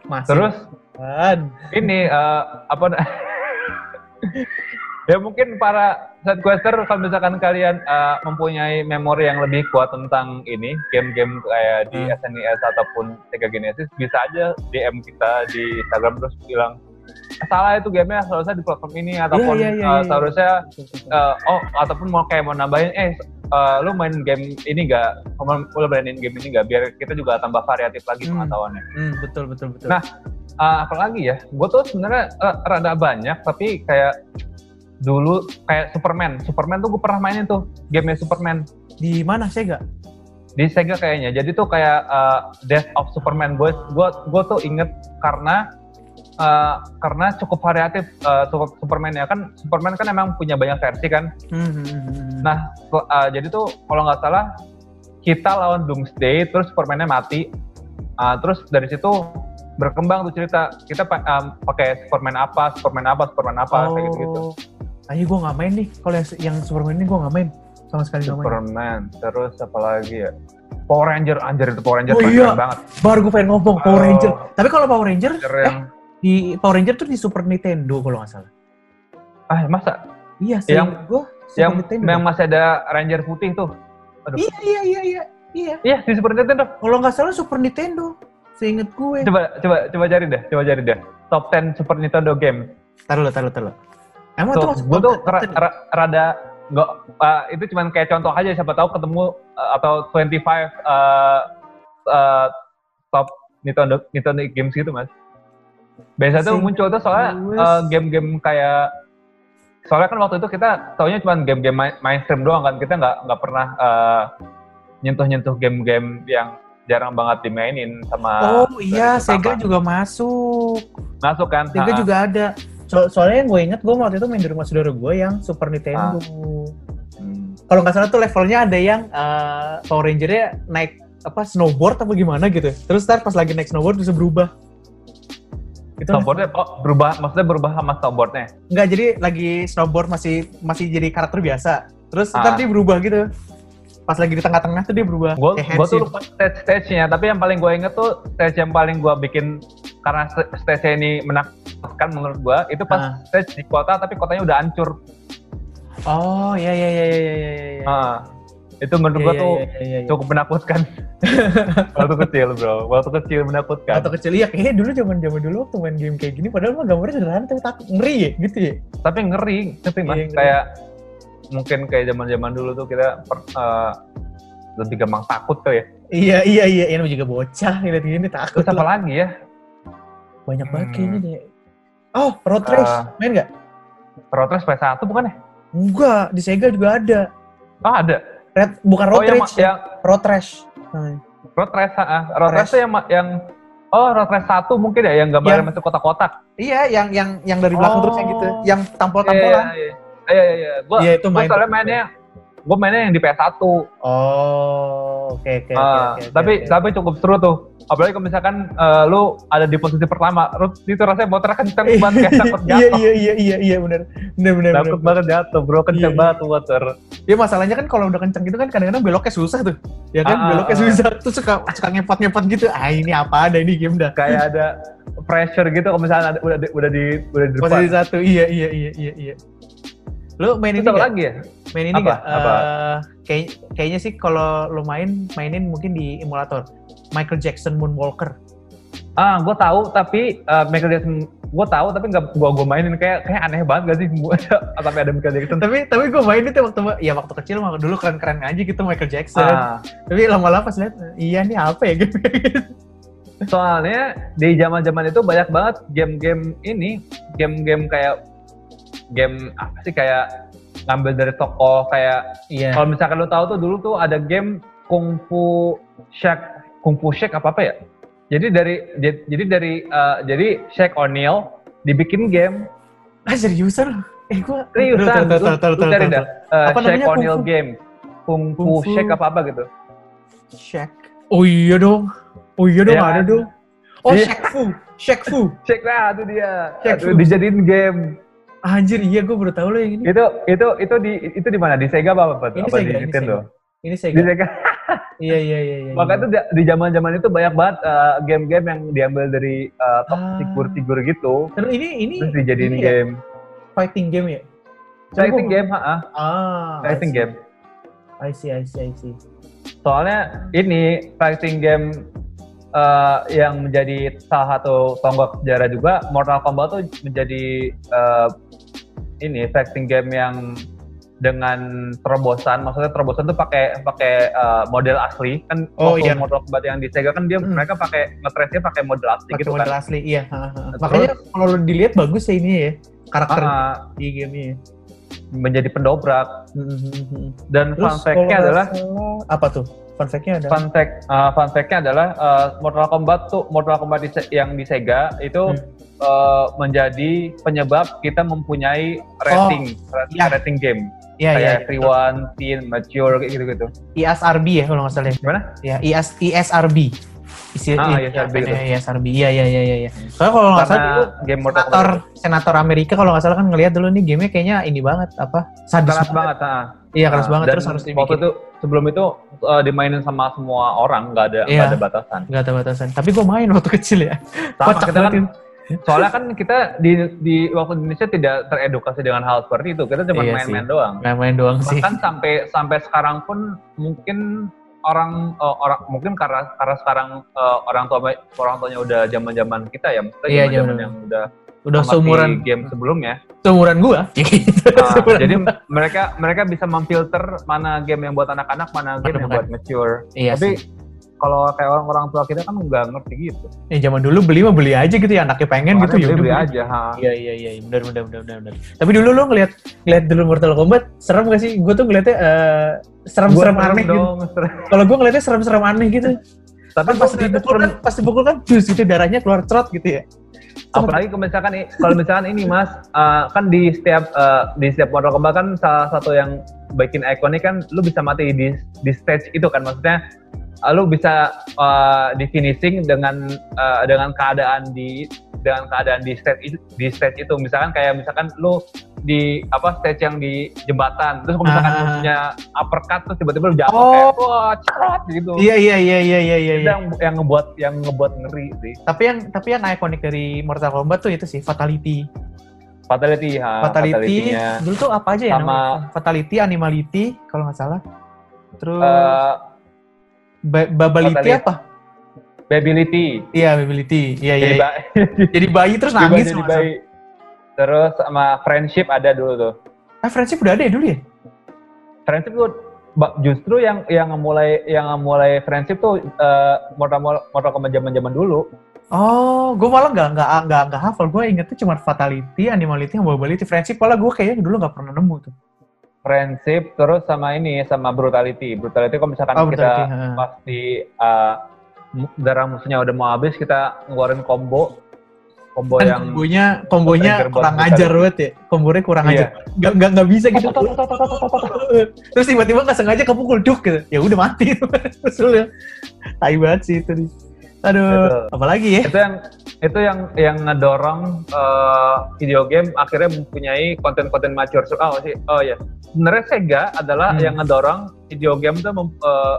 Speaker 3: Masih
Speaker 2: Terus
Speaker 3: kan.
Speaker 2: ini eh, apa na- ya mungkin para sidequester kalau misalkan kalian eh, mempunyai memori yang lebih kuat tentang ini game-game kayak di
Speaker 3: Hmm.
Speaker 2: SNES ataupun Sega Genesis bisa aja DM kita di Instagram terus bilang salah itu gamenya seharusnya di platform ini ataupun
Speaker 3: iya,
Speaker 2: eh,
Speaker 3: iya, iya.
Speaker 2: seharusnya eh, oh ataupun mau kayak mau nambahin eh eh, lu main game ini gak mau lu mainin game ini gak biar kita juga tambah variatif lagi
Speaker 3: Hmm.
Speaker 2: pengetahuannya
Speaker 3: Hmm, betul betul betul.
Speaker 2: Nah, Ah, apalagi ya, gue tuh sebenarnya eh, rada banyak, tapi kayak dulu kayak Superman, Superman tuh gue pernah mainin tuh gamenya Superman
Speaker 3: di mana Sega?
Speaker 2: di Sega kayaknya. Jadi tuh kayak eh, Death of Superman, gue gua gua tuh inget karena eh, karena cukup variatif eh, Super- Superman ya kan, Superman kan emang punya banyak versi kan.
Speaker 3: Hmm, hmm, hmm, hmm.
Speaker 2: Nah, ke- eh, jadi tuh kalau nggak salah kita lawan Doomsday, terus Supermannya mati, Ah, terus dari situ berkembang tuh cerita kita pa- em, pakai Superman apa, Superman apa, Superman apa kayak gitu gitu.
Speaker 3: Oh. Ayo gue nggak main nih. Kalau yang, yang Superman ini gue nggak main sama sekali nggak main.
Speaker 2: Superman, terus apa lagi ya? Power Ranger, anjir itu Power Ranger
Speaker 3: Oh
Speaker 2: keren
Speaker 3: iya.
Speaker 2: banget.
Speaker 3: Baru gue pengen ngomong Power
Speaker 2: Oh.
Speaker 3: Ranger. Tapi kalau Power Ranger,
Speaker 2: Ranger
Speaker 3: eh,
Speaker 2: yang
Speaker 3: di Power Ranger tuh di Super Nintendo kalau nggak salah.
Speaker 2: ah masa
Speaker 3: Iya, sih.
Speaker 2: Yang-
Speaker 3: gue Super
Speaker 2: yang
Speaker 3: Nintendo.
Speaker 2: yang masih ada Ranger putih tuh. Aduh.
Speaker 3: Iya, iya, iya, iya. Iya.
Speaker 2: Iya, di Super Nintendo.
Speaker 3: Kalau nggak salah Super Nintendo. Seinget gue.
Speaker 2: Coba coba coba cari deh, coba cari deh. Top 10 Super Nintendo game.
Speaker 3: Taruh lo, taruh, taruh. lo. Emang itu
Speaker 2: Tuh,
Speaker 3: masuk
Speaker 2: gue tuh
Speaker 3: top
Speaker 2: ra-
Speaker 3: 10?
Speaker 2: ra- rada nggak uh, itu cuman kayak contoh aja siapa tahu ketemu uh, atau 25 uh, uh, top Nintendo Nintendo games gitu mas. Biasanya tuh
Speaker 3: Sing-
Speaker 2: muncul tuh soalnya
Speaker 3: Lewis.
Speaker 2: uh, game-game kayak soalnya kan waktu itu kita taunya cuman game-game main- mainstream doang kan kita nggak nggak pernah uh, nyentuh-nyentuh game-game yang jarang banget dimainin sama
Speaker 3: Oh iya, Sega
Speaker 2: terutama.
Speaker 3: juga masuk.
Speaker 2: masuk kan
Speaker 3: Sega
Speaker 2: Ha-ha.
Speaker 3: juga ada. So- soalnya yang gue inget, gue waktu itu main di rumah saudara gue yang Super Nintendo.
Speaker 2: Hmm.
Speaker 3: Kalau nggak salah tuh levelnya ada yang eh, Power Ranger-nya naik apa snowboard apa gimana gitu. Terus ntar pas lagi naik snowboard bisa berubah. Itu
Speaker 2: snowboardnya oh, berubah maksudnya berubah sama snowboardnya
Speaker 3: nggak jadi lagi snowboard masih masih jadi karakter biasa. Terus
Speaker 2: Ah.
Speaker 3: ntar dia berubah gitu. pas lagi di tengah-tengah tuh dia berubah
Speaker 2: Gue
Speaker 3: kayak
Speaker 2: gua tuh
Speaker 3: handshake.
Speaker 2: lupa stage stage-nya, tapi yang paling gue inget tuh stage yang paling gue bikin karena st- stage ini menakutkan menurut gue itu
Speaker 3: Ah.
Speaker 2: pas stage di kota tapi kotanya udah hancur.
Speaker 3: oh ya ya ya ya ya ya ya.
Speaker 2: Ah, itu menurut
Speaker 3: Ya,
Speaker 2: gue
Speaker 3: ya,
Speaker 2: tuh
Speaker 3: ya, ya, ya.
Speaker 2: cukup menakutkan. waktu kecil bro, waktu kecil menakutkan.
Speaker 3: atau kecil ya kayaknya dulu zaman zaman dulu waktu main game kayak gini padahal mah gambarnya sederhana tapi takut ngeri ya gitu ya
Speaker 2: Tapi ngeri, ngerti mas?
Speaker 3: Iya, ngeri.
Speaker 2: Kayak mungkin kayak zaman zaman dulu tuh kita per- eh, lebih gampang takut tuh ya.
Speaker 3: iya iya iya ini juga bocah ngeliat gini takut
Speaker 2: Terus apa lagi ya?
Speaker 3: banyak banget
Speaker 2: Hmm.
Speaker 3: kayaknya deh oh road race
Speaker 2: Ah.
Speaker 3: main nggak
Speaker 2: Rotres PS1 bukan ya?
Speaker 3: enggak di Sega juga ada
Speaker 2: Oh ada.
Speaker 3: Red, bukan road
Speaker 2: oh yang,
Speaker 3: race
Speaker 2: ma-
Speaker 3: ya?
Speaker 2: yang
Speaker 3: road race Nah. namanya.
Speaker 2: Road Race, ah. Road
Speaker 3: Race.
Speaker 2: Race tuh yang ma- yang oh Road Race satu mungkin ya yang gambarnya
Speaker 3: Yang-
Speaker 2: masih kotak-kotak.
Speaker 3: Iya, yang yang yang dari belakang
Speaker 2: Oh.
Speaker 3: terus yang gitu, yang
Speaker 2: Iya,
Speaker 3: tampol-tampolan.
Speaker 2: iya. Iya, iya, iya. Gua
Speaker 3: Iya, itu
Speaker 2: gua
Speaker 3: main
Speaker 2: soalnya
Speaker 3: tuh.
Speaker 2: mainnya gua mainnya yang di PS1.
Speaker 3: Oh, oke oke oke,
Speaker 2: Ah,
Speaker 3: oke, oke,
Speaker 2: tapi
Speaker 3: oke.
Speaker 2: tapi cukup seru tuh. Apalagi kalau misalkan eh, lu ada di posisi pertama, lu itu rasanya motor kenceng banget kayak takut
Speaker 3: Iya
Speaker 2: jatuh.
Speaker 3: iya iya iya iya benar. Benar benar benar.
Speaker 2: Takut banget jatuh, bro. Kenceng
Speaker 3: Iya, iya.
Speaker 2: banget tuh motor.
Speaker 3: Ya masalahnya kan kalau udah kenceng gitu kan kadang-kadang beloknya susah tuh. Ya kan
Speaker 2: Ah, ah,
Speaker 3: beloknya
Speaker 2: ah.
Speaker 3: susah tuh suka suka ngepot-ngepot gitu. Ah ini apa ada ini game dah.
Speaker 2: Kayak ada pressure gitu kalau misalkan ada- udah di, udah di udah di depan.
Speaker 3: Posisi satu. Iya iya iya iya iya. Lu main ini
Speaker 2: Itu
Speaker 3: nggak?
Speaker 2: lagi ya?
Speaker 3: Main ini
Speaker 2: Apa?
Speaker 3: nggak?
Speaker 2: Apa?
Speaker 3: Eh, kayak- kayaknya sih kalau lu main mainin mungkin di emulator. Michael Jackson Moonwalker.
Speaker 2: Ah, gue tahu tapi eh, Michael Jackson gue tahu tapi nggak gua gua mainin kayak kayak aneh banget gak sih tapi ada Michael Jackson.
Speaker 3: tapi tapi gue main itu waktu ya waktu kecil mah dulu keren-keren aja gitu Michael Jackson
Speaker 2: Ah,
Speaker 3: tapi lama-lama pas lihat iya nih apa ya gitu
Speaker 2: soalnya di zaman-zaman itu banyak banget game-game ini, game-game kayak game apa sih kayak ngambil dari toko kayak
Speaker 3: iya
Speaker 2: kalau misalkan lo tahu tuh dulu tuh ada game kungfu shake kungfu shake apa apa ya? Jadi dari jad- jadi dari eh, jadi Shaq O'Neal dibikin game
Speaker 3: ah seriusan loh eh gue
Speaker 2: Seriusan, lu, lu cari dah. Eh,
Speaker 3: Apa
Speaker 2: Shaq
Speaker 3: namanya, Kung
Speaker 2: O'Neal
Speaker 3: Fu?
Speaker 2: game. Kung
Speaker 3: Kung
Speaker 2: Fu
Speaker 3: Fu.
Speaker 2: Shaq apa-apa gitu.
Speaker 3: Shaq oh iya dong oh iya dong
Speaker 2: Iya
Speaker 3: ada
Speaker 2: kan?
Speaker 3: dong oh
Speaker 2: Iya.
Speaker 3: Shaq Fu Shaq Fu
Speaker 2: Shaq lah, itu dia.
Speaker 3: Shaq
Speaker 2: Aduh,
Speaker 3: Fu.
Speaker 2: dijadiin game.
Speaker 3: anjir iya gue baru tahu loh yang ini
Speaker 2: Itu itu itu di itu di mana? Di Sega apa apa? tuh?
Speaker 3: Ini
Speaker 2: Apa
Speaker 3: Sega,
Speaker 2: di
Speaker 3: ini
Speaker 2: Nintendo?
Speaker 3: ini
Speaker 2: Di
Speaker 3: Sega
Speaker 2: Sega.
Speaker 3: iya iya iya iya
Speaker 2: Maka itu da- di zaman-zaman itu banyak banget eh, game-game yang diambil dari eh, top
Speaker 3: Ah.
Speaker 2: figur-figur gitu.
Speaker 3: terus ini ini
Speaker 2: Terus dijadiin
Speaker 3: ini ya,
Speaker 2: game.
Speaker 3: fighting game ya
Speaker 2: Fighting
Speaker 3: Coba-
Speaker 2: game, ha
Speaker 3: ah
Speaker 2: Fighting
Speaker 3: I see.
Speaker 2: game.
Speaker 3: I see I see I see
Speaker 2: Soalnya ini fighting game eh, yang menjadi salah satu tonggak sejarah juga Mortal Kombat tuh menjadi eh, ini fighting game yang dengan terobosan, maksudnya terobosan tuh pakai pakai eh, model asli kan
Speaker 3: Oh,
Speaker 2: waktu
Speaker 3: iya.
Speaker 2: Mortal Kombat yang di Sega kan dia
Speaker 3: Hmm.
Speaker 2: mereka pakai ngetrace pakai model asli
Speaker 3: pakai
Speaker 2: gitu
Speaker 3: model
Speaker 2: kan.
Speaker 3: asli iya ha, ha, ha. makanya kalau lu dilihat bagus ya ini ya karakter
Speaker 2: Ah,
Speaker 3: di gamenya ya.
Speaker 2: menjadi pendobrak
Speaker 3: Mhm.
Speaker 2: dan
Speaker 3: Terus
Speaker 2: hmm, fun fact-nya
Speaker 3: kalau nggak
Speaker 2: adalah
Speaker 3: salah, apa tuh? Fun fact-nya adalah
Speaker 2: fun fact eh, fun fact-nya adalah eh, Mortal Kombat tuh Mortal Kombat di Se- yang di Sega itu
Speaker 3: Hmm.
Speaker 2: eh, menjadi penyebab kita mempunyai rating rating,
Speaker 3: iya.
Speaker 2: rating game
Speaker 3: ya, ya,
Speaker 2: kayak everyone, teen, mature kayak gitu-gitu.
Speaker 3: ISRB ya kalau nggak salah. ya.
Speaker 2: Gimana?
Speaker 3: Ya, IS ISRB. Isi
Speaker 2: Ah,
Speaker 3: ini,
Speaker 2: ISRB
Speaker 3: apanya,
Speaker 2: gitu.
Speaker 3: ISRB. Iya, iya, iya, iya. Ya. Soalnya kalau nggak salah
Speaker 2: Karena
Speaker 3: dulu
Speaker 2: game Mortal
Speaker 3: senator
Speaker 2: Kombat
Speaker 3: senator Amerika kalau nggak salah kan ngelihat dulu nih gamenya kayaknya ini banget apa sadis
Speaker 2: keras banget, ah.
Speaker 3: Iya keras
Speaker 2: Ah,
Speaker 3: banget
Speaker 2: dan
Speaker 3: terus harus
Speaker 2: Waktu
Speaker 3: dibikin.
Speaker 2: itu sebelum itu eh, dimainin sama semua orang, nggak ada nggak
Speaker 3: Iya.
Speaker 2: ada batasan.
Speaker 3: Nggak tahu batasan. Tapi gue main waktu kecil ya.
Speaker 2: Sama
Speaker 3: Kocak
Speaker 2: kita kan,
Speaker 3: banget.
Speaker 2: soalnya kan kita di di waktu Indonesia tidak teredukasi dengan hal seperti itu. Kita cuma
Speaker 3: Iya
Speaker 2: main-main
Speaker 3: sih.
Speaker 2: doang.
Speaker 3: Main-main doang sih.
Speaker 2: bahkan sampai sampai sekarang pun mungkin orang eh, orang mungkin karena karena sekarang eh, orang tua orang tuanya udah zaman zaman kita ya maksudnya
Speaker 3: Iya,
Speaker 2: zaman zaman
Speaker 3: zaman-
Speaker 2: yang udah
Speaker 3: Udah
Speaker 2: amati
Speaker 3: seumuran
Speaker 2: game sebelumnya
Speaker 3: seumuran gua.
Speaker 2: Nah,
Speaker 3: Seumuran
Speaker 2: jadi
Speaker 3: gua.
Speaker 2: mereka mereka bisa memfilter mana game yang buat anak-anak mana game yang
Speaker 3: bukan.
Speaker 2: buat mature
Speaker 3: iya
Speaker 2: tapi
Speaker 3: sih.
Speaker 2: kalau kayak orang orang tua kita kan nggak ngerti gitu
Speaker 3: Ya zaman dulu beli mah beli aja gitu ya anaknya pengen gitu
Speaker 2: Makanya
Speaker 3: ya udah
Speaker 2: beli
Speaker 3: beli.
Speaker 2: aja ha.
Speaker 3: Iya iya iya benar benar benar benar benar. Tapi dulu lo ngelihat ngelihat dulu Mortal Kombat serem gak sih? Gue tuh ngeliatnya eh, serem-serem
Speaker 2: Gua serem
Speaker 3: aneh gitu.
Speaker 2: dong, serem.
Speaker 3: Kalau gue ngeliatnya serem-serem aneh gitu.
Speaker 2: tapi
Speaker 3: Kan pas
Speaker 2: gua ngeliatnya
Speaker 3: dipukul kan pas dipukul kan jus gitu darahnya keluar cerot gitu ya.
Speaker 2: apalagi kalau misalkan i- kalau misalkan ini mas eh, kan di setiap eh, di setiap Mortal Kombat kan salah satu yang bikin ikonik kan lu bisa mati di di stage itu kan maksudnya eh, lu bisa eh, di finishing dengan eh, dengan keadaan di dengan keadaan di stage itu di stage itu misalkan kayak misalkan lu di apa stage yang di jembatan terus kalau misalkan lu
Speaker 3: Ah.
Speaker 2: punya uppercut terus tiba-tiba lu jatuh
Speaker 3: Oh.
Speaker 2: kayak wah cerat gitu
Speaker 3: Iya iya iya iya iya iya.
Speaker 2: itu
Speaker 3: iya.
Speaker 2: yang, yang ngebuat yang ngebuat ngeri sih
Speaker 3: Tapi yang tapi yang ikonik dari Mortal Kombat tuh itu sih fatality.
Speaker 2: fatality ha,
Speaker 3: fatality
Speaker 2: Ah, fatality-nya.
Speaker 3: dulu tuh apa aja ya
Speaker 2: Sama-
Speaker 3: namanya? Fatality, animality kalau nggak salah. Terus
Speaker 2: Eh,
Speaker 3: ba- babality
Speaker 2: fatality.
Speaker 3: apa?
Speaker 2: Bability.
Speaker 3: Iya, babality. Iya iya.
Speaker 2: Jadi
Speaker 3: iya.
Speaker 2: ba-
Speaker 3: Jadi bayi terus
Speaker 2: jadi
Speaker 3: nangis.
Speaker 2: jadi
Speaker 3: sama-
Speaker 2: bayi. Terus sama friendship ada dulu tuh.
Speaker 3: Ah, friendship udah ada ya dulu ya?
Speaker 2: Friendship tuh ba- justru yang yang mulai yang mulai friendship tuh eh Mortal Mortal Kombat zaman-zaman dulu.
Speaker 3: Oh, gue malah nggak nggak nggak nggak hafal. Gue ingetnya cuma fatality, animality, sama babality, friendship. Malah gue kayaknya dulu nggak pernah nemu tuh.
Speaker 2: Friendship terus sama ini sama brutality. Brutality kalau misalkan
Speaker 3: Oh,
Speaker 2: Kan kita
Speaker 3: brutality, ha.
Speaker 2: pasti eh, mu- darah musuhnya udah mau habis kita ngeluarin combo combo
Speaker 3: Kan
Speaker 2: yang
Speaker 3: kombonya kombonya
Speaker 2: Tiger Bond
Speaker 3: kurang
Speaker 2: bukan.
Speaker 3: ajar banget ya. Kombonya kurang
Speaker 2: Iya.
Speaker 3: ajar. Nggak nggak nggak bisa gitu. Terus tiba-tiba nggak sengaja kepukul duk gitu. Ya udah mati. Terus lu lihat, tai banget sih itu. nih.
Speaker 2: Betul.
Speaker 3: Aduh, apalagi ya?
Speaker 2: itu yang itu yang yang ngedorong eh, video game akhirnya mempunyai konten-konten mature. So- Oh sih, oh ya. Sebenarnya Sega adalah
Speaker 3: Hmm.
Speaker 2: yang ngedorong video game tuh mem- eh,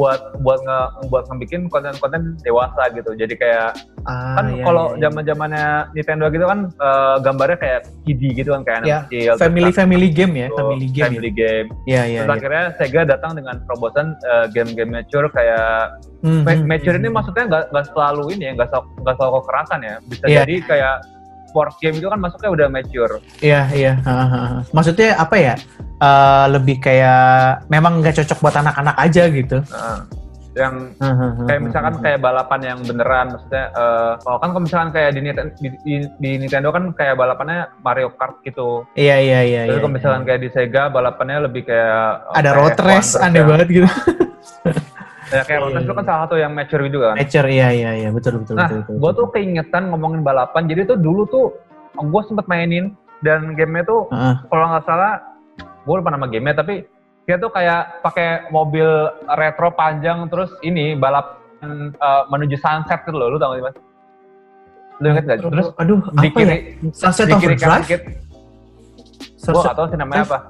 Speaker 2: buat buat nge buat ngebikin konten-konten dewasa gitu. Jadi kayak
Speaker 3: Ah,
Speaker 2: kan
Speaker 3: iya,
Speaker 2: kalau
Speaker 3: iya, iya.
Speaker 2: zaman-zamannya Nintendo gitu kan eh, gambarnya kayak kiddie gitu kan kayak anak
Speaker 3: Ya,
Speaker 2: kecil. terus
Speaker 3: family
Speaker 2: anak
Speaker 3: family game ya,
Speaker 2: kecil,
Speaker 3: family game. ya.
Speaker 2: kan family game.
Speaker 3: Iya iya.
Speaker 2: Terus akhirnya Sega datang dengan terobosan eh, game-game mature kayak
Speaker 3: Hmm,
Speaker 2: Ma-
Speaker 3: Mm-hmm.
Speaker 2: mature ini
Speaker 3: masuk
Speaker 2: maksudnya nggak nggak selalu ini ya nggak sel- nggak selalu kekerasan ya bisa
Speaker 3: Iya.
Speaker 2: jadi kayak sport game itu kan masuknya udah mature
Speaker 3: Iya iya. Ha, ha, ha. Maksudnya apa ya? Eh, lebih kayak memang nggak cocok buat anak-anak aja gitu.
Speaker 2: Heeh. Nah, yang
Speaker 3: Ha, ha, ha,
Speaker 2: kayak
Speaker 3: ha,
Speaker 2: misalkan
Speaker 3: ha.
Speaker 2: kayak balapan yang beneran maksudnya eh, kalau kan kalau misalkan kayak di, Niten- di, di- di Nintendo kan kayak balapannya Mario Kart gitu
Speaker 3: Iya iya iya.
Speaker 2: Tapi
Speaker 3: iya,
Speaker 2: kalau misalkan
Speaker 3: iya.
Speaker 2: kayak di Sega balapannya lebih kayak eh,
Speaker 3: ada
Speaker 2: kayak
Speaker 3: road
Speaker 2: F1, terus
Speaker 3: race aneh
Speaker 2: yang-
Speaker 3: banget gitu.
Speaker 2: ya, kayak road race itu kan salah satu yang mature juga kan
Speaker 3: Mature iya iya iya betul betul
Speaker 2: Nah,
Speaker 3: betul. betul,
Speaker 2: gue
Speaker 3: betul.
Speaker 2: tuh keingetan ngomongin balapan jadi tuh dulu tuh gue sempet mainin dan gamenya tuh
Speaker 3: Heeh.
Speaker 2: kalau nggak salah gue lupa nama gamenya tapi dia tuh kayak pakai mobil retro panjang terus ini balapan eh, menuju sunset gitu loh lu tau gak sih mas lu inget gak terus
Speaker 3: aduh
Speaker 2: di
Speaker 3: apa
Speaker 2: kiri
Speaker 3: ya? Sunset
Speaker 2: di kiri kanan gitu. dikit
Speaker 3: Overdrive?
Speaker 2: gue
Speaker 3: Sunset-
Speaker 2: gak tau sih namanya apa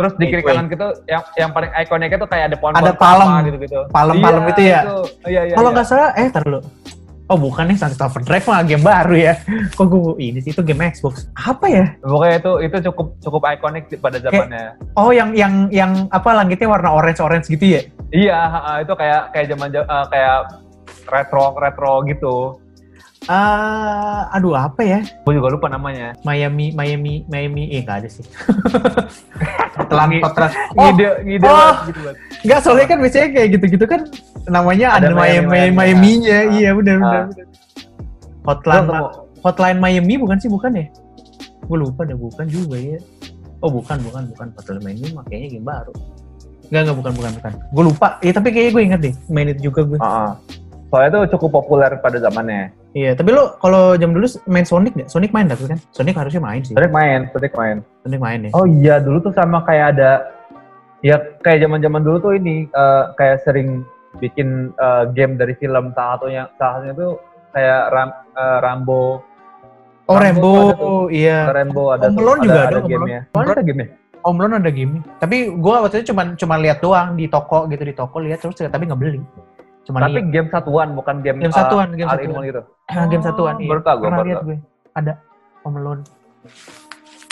Speaker 2: terus di kiri
Speaker 3: Wait, wait.
Speaker 2: kanan gitu yang yang paling ikoniknya tuh kayak ada pohon
Speaker 3: Ada palem.
Speaker 2: gitu gitu
Speaker 3: Palem-palem itu ya?
Speaker 2: iya iya
Speaker 3: Kalau
Speaker 2: iya.
Speaker 3: nggak salah, eh tar dulu. Oh bukan nih Sunset Overdrive mah game baru ya. Kok gue ini sih itu game Xbox. Apa ya?
Speaker 2: pokoknya itu itu cukup cukup ikonik di- pada zamannya
Speaker 3: Oh yang yang yang apa langitnya warna orange orange gitu ya?
Speaker 2: iya ha-ha, itu kayak kayak zaman eh, kayak retro retro gitu
Speaker 3: Ah, aduh apa ya?
Speaker 2: gue juga lupa namanya
Speaker 3: Miami Miami Miami eh nggak ada sih. Telan
Speaker 2: Ngi-
Speaker 3: kontras. Oh,
Speaker 2: ngide ngide
Speaker 3: Oh.
Speaker 2: banget gitu banget.
Speaker 3: nggak soalnya kan biasanya kayak gitu-gitu kan namanya ada,
Speaker 2: Ada
Speaker 3: Miami Miami
Speaker 2: Miami-
Speaker 3: Miami-nya.
Speaker 2: Miami.
Speaker 3: Iya benar benar.
Speaker 2: Ah.
Speaker 3: benar. Hotline
Speaker 2: Lu
Speaker 3: Ma-
Speaker 2: tau-
Speaker 3: Hotline Miami bukan sih bukan ya? Gue lupa deh bukan juga ya. Oh bukan bukan bukan Hotline Miami makanya game baru. Nggak nggak bukan bukan bukan. Gue lupa. Eh tapi kayaknya gue inget deh main itu juga gue.
Speaker 2: Heeh. Soalnya tuh cukup populer pada zamannya.
Speaker 3: Iya tapi lo kalau jam dulu main Sonic nggak? Sonic main tapi kan? Sonic harusnya main sih.
Speaker 2: Sonic main, Sonic main.
Speaker 3: Sonic main ya.
Speaker 2: Oh iya, dulu tuh sama kayak ada ya kayak zaman-zaman dulu tuh ini eh, kayak sering bikin eh, game dari film salah satunya salah satunya tuh kayak Ram, eh, Rambo, Rambo
Speaker 3: Oh Rambo,
Speaker 2: ada tuh.
Speaker 3: iya.
Speaker 2: Rambo ada
Speaker 3: Home Alone juga ada,
Speaker 2: ada,
Speaker 3: Home
Speaker 2: gamenya. Oh, ada gamenya?
Speaker 3: Om Lon ada game. Tapi gua waktu itu cuman cuman lihat doang di toko gitu di toko lihat terus tapi nggak beli. Cuman
Speaker 2: Tapi
Speaker 3: lihat.
Speaker 2: game satuan bukan game
Speaker 3: game
Speaker 2: eh,
Speaker 3: satuan, game
Speaker 2: all in
Speaker 3: satuan.
Speaker 2: all gitu.
Speaker 3: Ah, game satuan. Iya.
Speaker 2: Baru tau gua,
Speaker 3: Pernah
Speaker 2: baru
Speaker 3: lihat
Speaker 2: tau.
Speaker 3: gue. Ada Om Lon.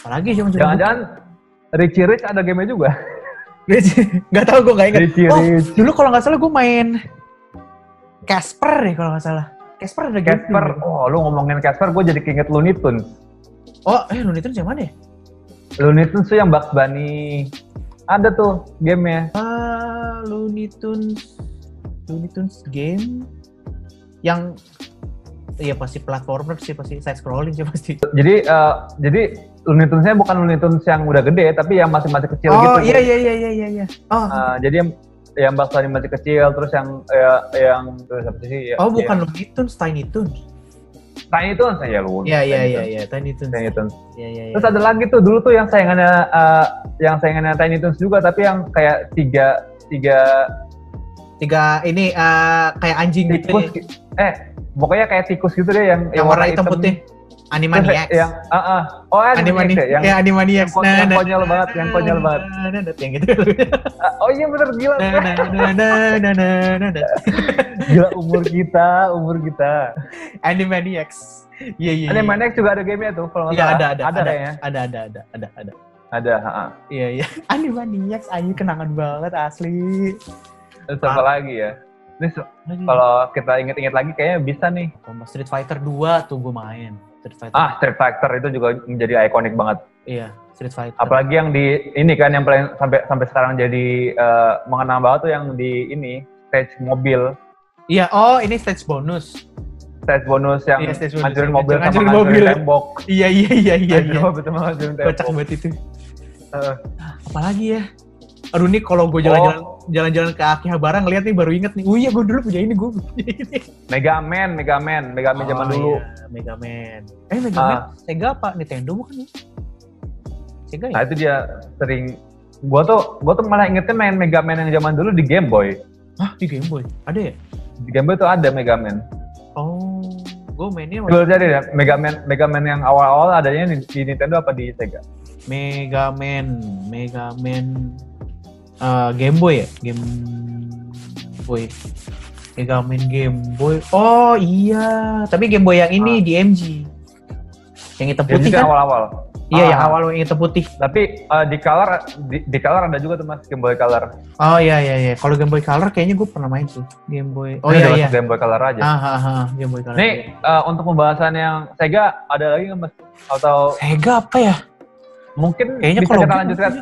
Speaker 3: Apalagi cuma cuma.
Speaker 2: Jangan-jangan Richie Rich ada gamenya juga.
Speaker 3: Gak tau gue gak ingat.
Speaker 2: Richie
Speaker 3: Oh,
Speaker 2: Rich. iya,
Speaker 3: dulu kalau nggak salah gue main Casper deh kalau nggak salah. Casper ada game
Speaker 2: Casper,
Speaker 3: juga.
Speaker 2: oh lu ngomongin Casper, gue jadi keinget Looney Tunes.
Speaker 3: Oh, eh Looney Tunes yang mana ya?
Speaker 2: Looney Tunes tuh yang Bugs Bunny. Ada tuh gamenya.
Speaker 3: Ah, Looney Tunes. Looney Tunes game yang Iya pasti platformer sih pasti side scrolling sih pasti.
Speaker 2: Jadi eh, jadi Looney Tunes-nya bukan Looney Tunes yang udah gede, tapi yang masih-masih kecil gitu.
Speaker 3: Oh iya iya iya iya iya iya. Oh,
Speaker 2: Eh, jadi yang yang Bugs Bunny masih kecil, terus yang eh, yang terus apa sih? Ya,
Speaker 3: oh bukan Looney Tunes, Tiny Toons.
Speaker 2: Ya. Tiny Tunes ya lu.
Speaker 3: Iya iya
Speaker 2: Tiny
Speaker 3: iya
Speaker 2: Toons.
Speaker 3: iya Tiny Toons.
Speaker 2: Tiny Toons.
Speaker 3: Iya iya iya.
Speaker 2: Terus ada lagi tuh dulu tuh yang saingannya eh, yang saingannya Tiny Toons juga, tapi yang kayak tiga tiga
Speaker 3: tiga ini eh, kayak anjing gitu.
Speaker 2: tikus.
Speaker 3: ya.
Speaker 2: Eh pokoknya kayak tikus gitu deh yang
Speaker 3: yang warna hitam putih.
Speaker 2: Terus
Speaker 3: Animaniacs.
Speaker 2: yang ah ah. oh animaniacs
Speaker 3: Animaniacs.
Speaker 2: ya, yang
Speaker 3: ya, Animaniacs.
Speaker 2: yang kon- yang konyol banget, yang konyol banget.
Speaker 3: Nah, nah, nah, yang gitu.
Speaker 2: ah, oh iya bener gila
Speaker 3: Nah, nah, nah, nah, nah, nah, nah, nah.
Speaker 2: gila umur kita umur kita
Speaker 3: Animaniacs. Iya, iya. iya.
Speaker 2: animaniacs juga ada gamenya tuh kalau nggak ya?
Speaker 3: Iya,
Speaker 2: salah
Speaker 3: ada, ada, ada,
Speaker 2: kayaknya
Speaker 3: ada, ada, ada, ada, ada.
Speaker 2: ada ah, ah.
Speaker 3: Iya, iya. Animaniacs anjir kenangan banget asli.
Speaker 2: terus apa
Speaker 3: Ah. Hmm.
Speaker 2: lagi ya ini se- kalau kita inget-inget lagi kayaknya bisa nih
Speaker 3: Sama Street Fighter 2 tuh gue main. Street Fighter.
Speaker 2: ah Street Fighter itu juga menjadi ikonik banget
Speaker 3: Iya, Street Fighter.
Speaker 2: apalagi yang di ini kan yang paling sampai sampai sekarang jadi eh, mengenang banget tuh yang di ini stage mobil
Speaker 3: Iya, oh ini stage bonus.
Speaker 2: stage bonus yang
Speaker 3: Iya, stage bonus.
Speaker 2: hancurin mobil sama
Speaker 3: Hancurin
Speaker 2: hancurin
Speaker 3: mobil.
Speaker 2: tembok
Speaker 3: Iya, iya, iya, iya, iya.
Speaker 2: Hancurin mobil sama hancurin
Speaker 3: Kocak
Speaker 2: tembok Eh,
Speaker 3: banget itu.
Speaker 2: Heeh.
Speaker 3: Apalagi ya? Aduh nih kalau gue jalan-jalan
Speaker 2: Oh.
Speaker 3: jalan-jalan ke Akihabara ngeliat nih baru inget nih. Oh iya gue dulu punya ini gue. punya ini.
Speaker 2: Mega Man Mega Man Mega Man zaman
Speaker 3: Oh,
Speaker 2: dulu Ah.
Speaker 3: Iya, Mega Man. Eh Mega Man, Sega apa? Nintendo bukan? ya? Sega ya?
Speaker 2: nah itu dia sering gua tuh gua tuh malah ingetnya main Mega Man yang zaman dulu di Game Boy
Speaker 3: Hah, di Game Boy? Ada ya?
Speaker 2: di Game Boy tuh ada Mega Man
Speaker 3: Oh, gue mainnya waktu-
Speaker 2: Coba cari deh Mega Man Mega Man yang awal-awal adanya di, di Nintendo apa di Sega
Speaker 3: Mega Man, Mega Man eh, Game Boy ya? Game Boy. Mega Man Game Boy. Oh iya, tapi Game Boy yang
Speaker 2: Ah.
Speaker 3: ini DMG. Yang hitam
Speaker 2: Jadi
Speaker 3: putih
Speaker 2: itu
Speaker 3: kan?
Speaker 2: awal-awal
Speaker 3: Iya,
Speaker 2: Ah.
Speaker 3: yang awal yang hitam putih.
Speaker 2: tapi eh, di color di, di color ada juga tuh mas Game Boy Color
Speaker 3: Oh iya iya iya. Kalau Game Boy Color kayaknya gue pernah main tuh. Game Boy. Oh
Speaker 2: Ini
Speaker 3: iya
Speaker 2: ada
Speaker 3: iya.
Speaker 2: Game Boy Color aja
Speaker 3: Ah, ah, ah, iya. Game Boy Color.
Speaker 2: Nih, eh, untuk pembahasan yang Sega, ada lagi nggak mas? Atau
Speaker 3: Sega apa ya?
Speaker 2: mungkin
Speaker 3: Kayaknya
Speaker 2: bisa
Speaker 3: kalau
Speaker 2: kita
Speaker 3: game
Speaker 2: lanjutkan?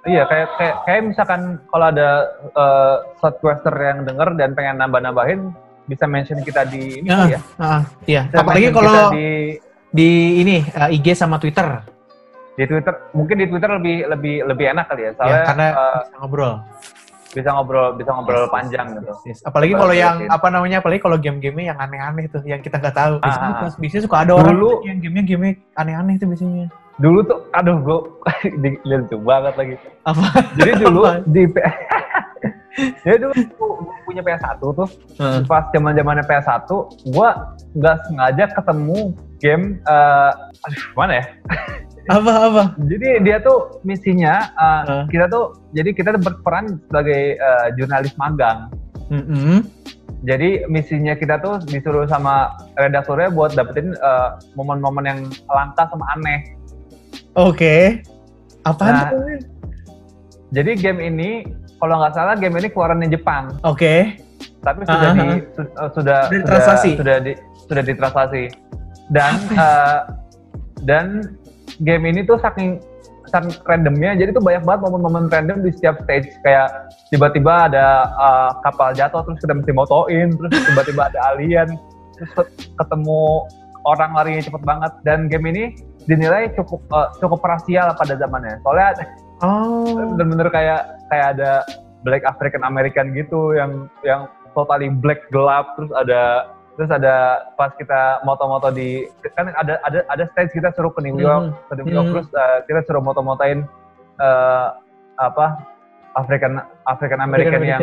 Speaker 2: Iya, kayak kayak, kayak misalkan kalau ada eh, subquester yang denger dan pengen nambah-nambahin, bisa mention kita di ini
Speaker 3: Ah,
Speaker 2: ya.
Speaker 3: ah, iya.
Speaker 2: Bisa
Speaker 3: Apalagi
Speaker 2: mention
Speaker 3: kalau
Speaker 2: kita
Speaker 3: di...
Speaker 2: di,
Speaker 3: ini eh, IG sama Twitter.
Speaker 2: di Twitter, mungkin di Twitter lebih lebih lebih enak kali ya,
Speaker 3: ya,
Speaker 2: soalnya
Speaker 3: karena
Speaker 2: eh,
Speaker 3: bisa ngobrol.
Speaker 2: bisa ngobrol bisa ngobrol
Speaker 3: Yes,
Speaker 2: panjang
Speaker 3: yes,
Speaker 2: gitu.
Speaker 3: yes, yes. Apalagi kalau
Speaker 2: Ngobrol
Speaker 3: yang
Speaker 2: gitu.
Speaker 3: apa namanya? Apalagi kalau game-game yang aneh-aneh tuh yang kita nggak tahu. Biasanya,
Speaker 2: Ah.
Speaker 3: biasanya suka ada orang
Speaker 2: Dulu-
Speaker 3: tuh yang game-nya game aneh-aneh tuh biasanya.
Speaker 2: Dulu tuh, aduh gue lucu banget lagi.
Speaker 3: Apa?
Speaker 2: Jadi dulu
Speaker 3: Apa?
Speaker 2: di P- Jadi dulu gua punya PS1 tuh,
Speaker 3: Heeh.
Speaker 2: pas zaman zamannya PS1 gua nggak sengaja ketemu game eh aduh, mana ya
Speaker 3: apa apa?
Speaker 2: jadi dia tuh misinya eh,
Speaker 3: Heeh.
Speaker 2: kita tuh jadi kita tuh berperan sebagai eh, jurnalis magang
Speaker 3: Mm-mm.
Speaker 2: jadi misinya kita tuh disuruh sama redakturnya buat dapetin eh, momen-momen yang langka sama aneh
Speaker 3: Oke. Apaan
Speaker 2: Nah.
Speaker 3: tuh?
Speaker 2: jadi game ini kalau nggak salah game ini keluarannya Jepang
Speaker 3: Oke.
Speaker 2: tapi sudah di su-
Speaker 3: Ah.
Speaker 2: eh, sudah
Speaker 3: Sudah
Speaker 2: sudah
Speaker 3: ditranslasi.
Speaker 2: sudah di, sudah ditranslasi dan eh, dan game ini tuh saking saking randomnya jadi tuh banyak banget momen-momen random di setiap stage kayak tiba-tiba ada eh, kapal jatuh terus kita mesti motoin terus tiba-tiba ada alien terus ke- ketemu orang larinya cepet banget dan game ini dinilai cukup eh, cukup parasial pada zamannya soalnya
Speaker 3: Oh.
Speaker 2: bener-bener kayak kayak ada black African American gitu yang yang totally black gelap terus ada terus ada pas kita moto-moto di kan ada ada ada stage kita suruh ke New York ke New York
Speaker 3: Hmm.
Speaker 2: terus eh, kita suruh moto-motoin eh, apa African African American yang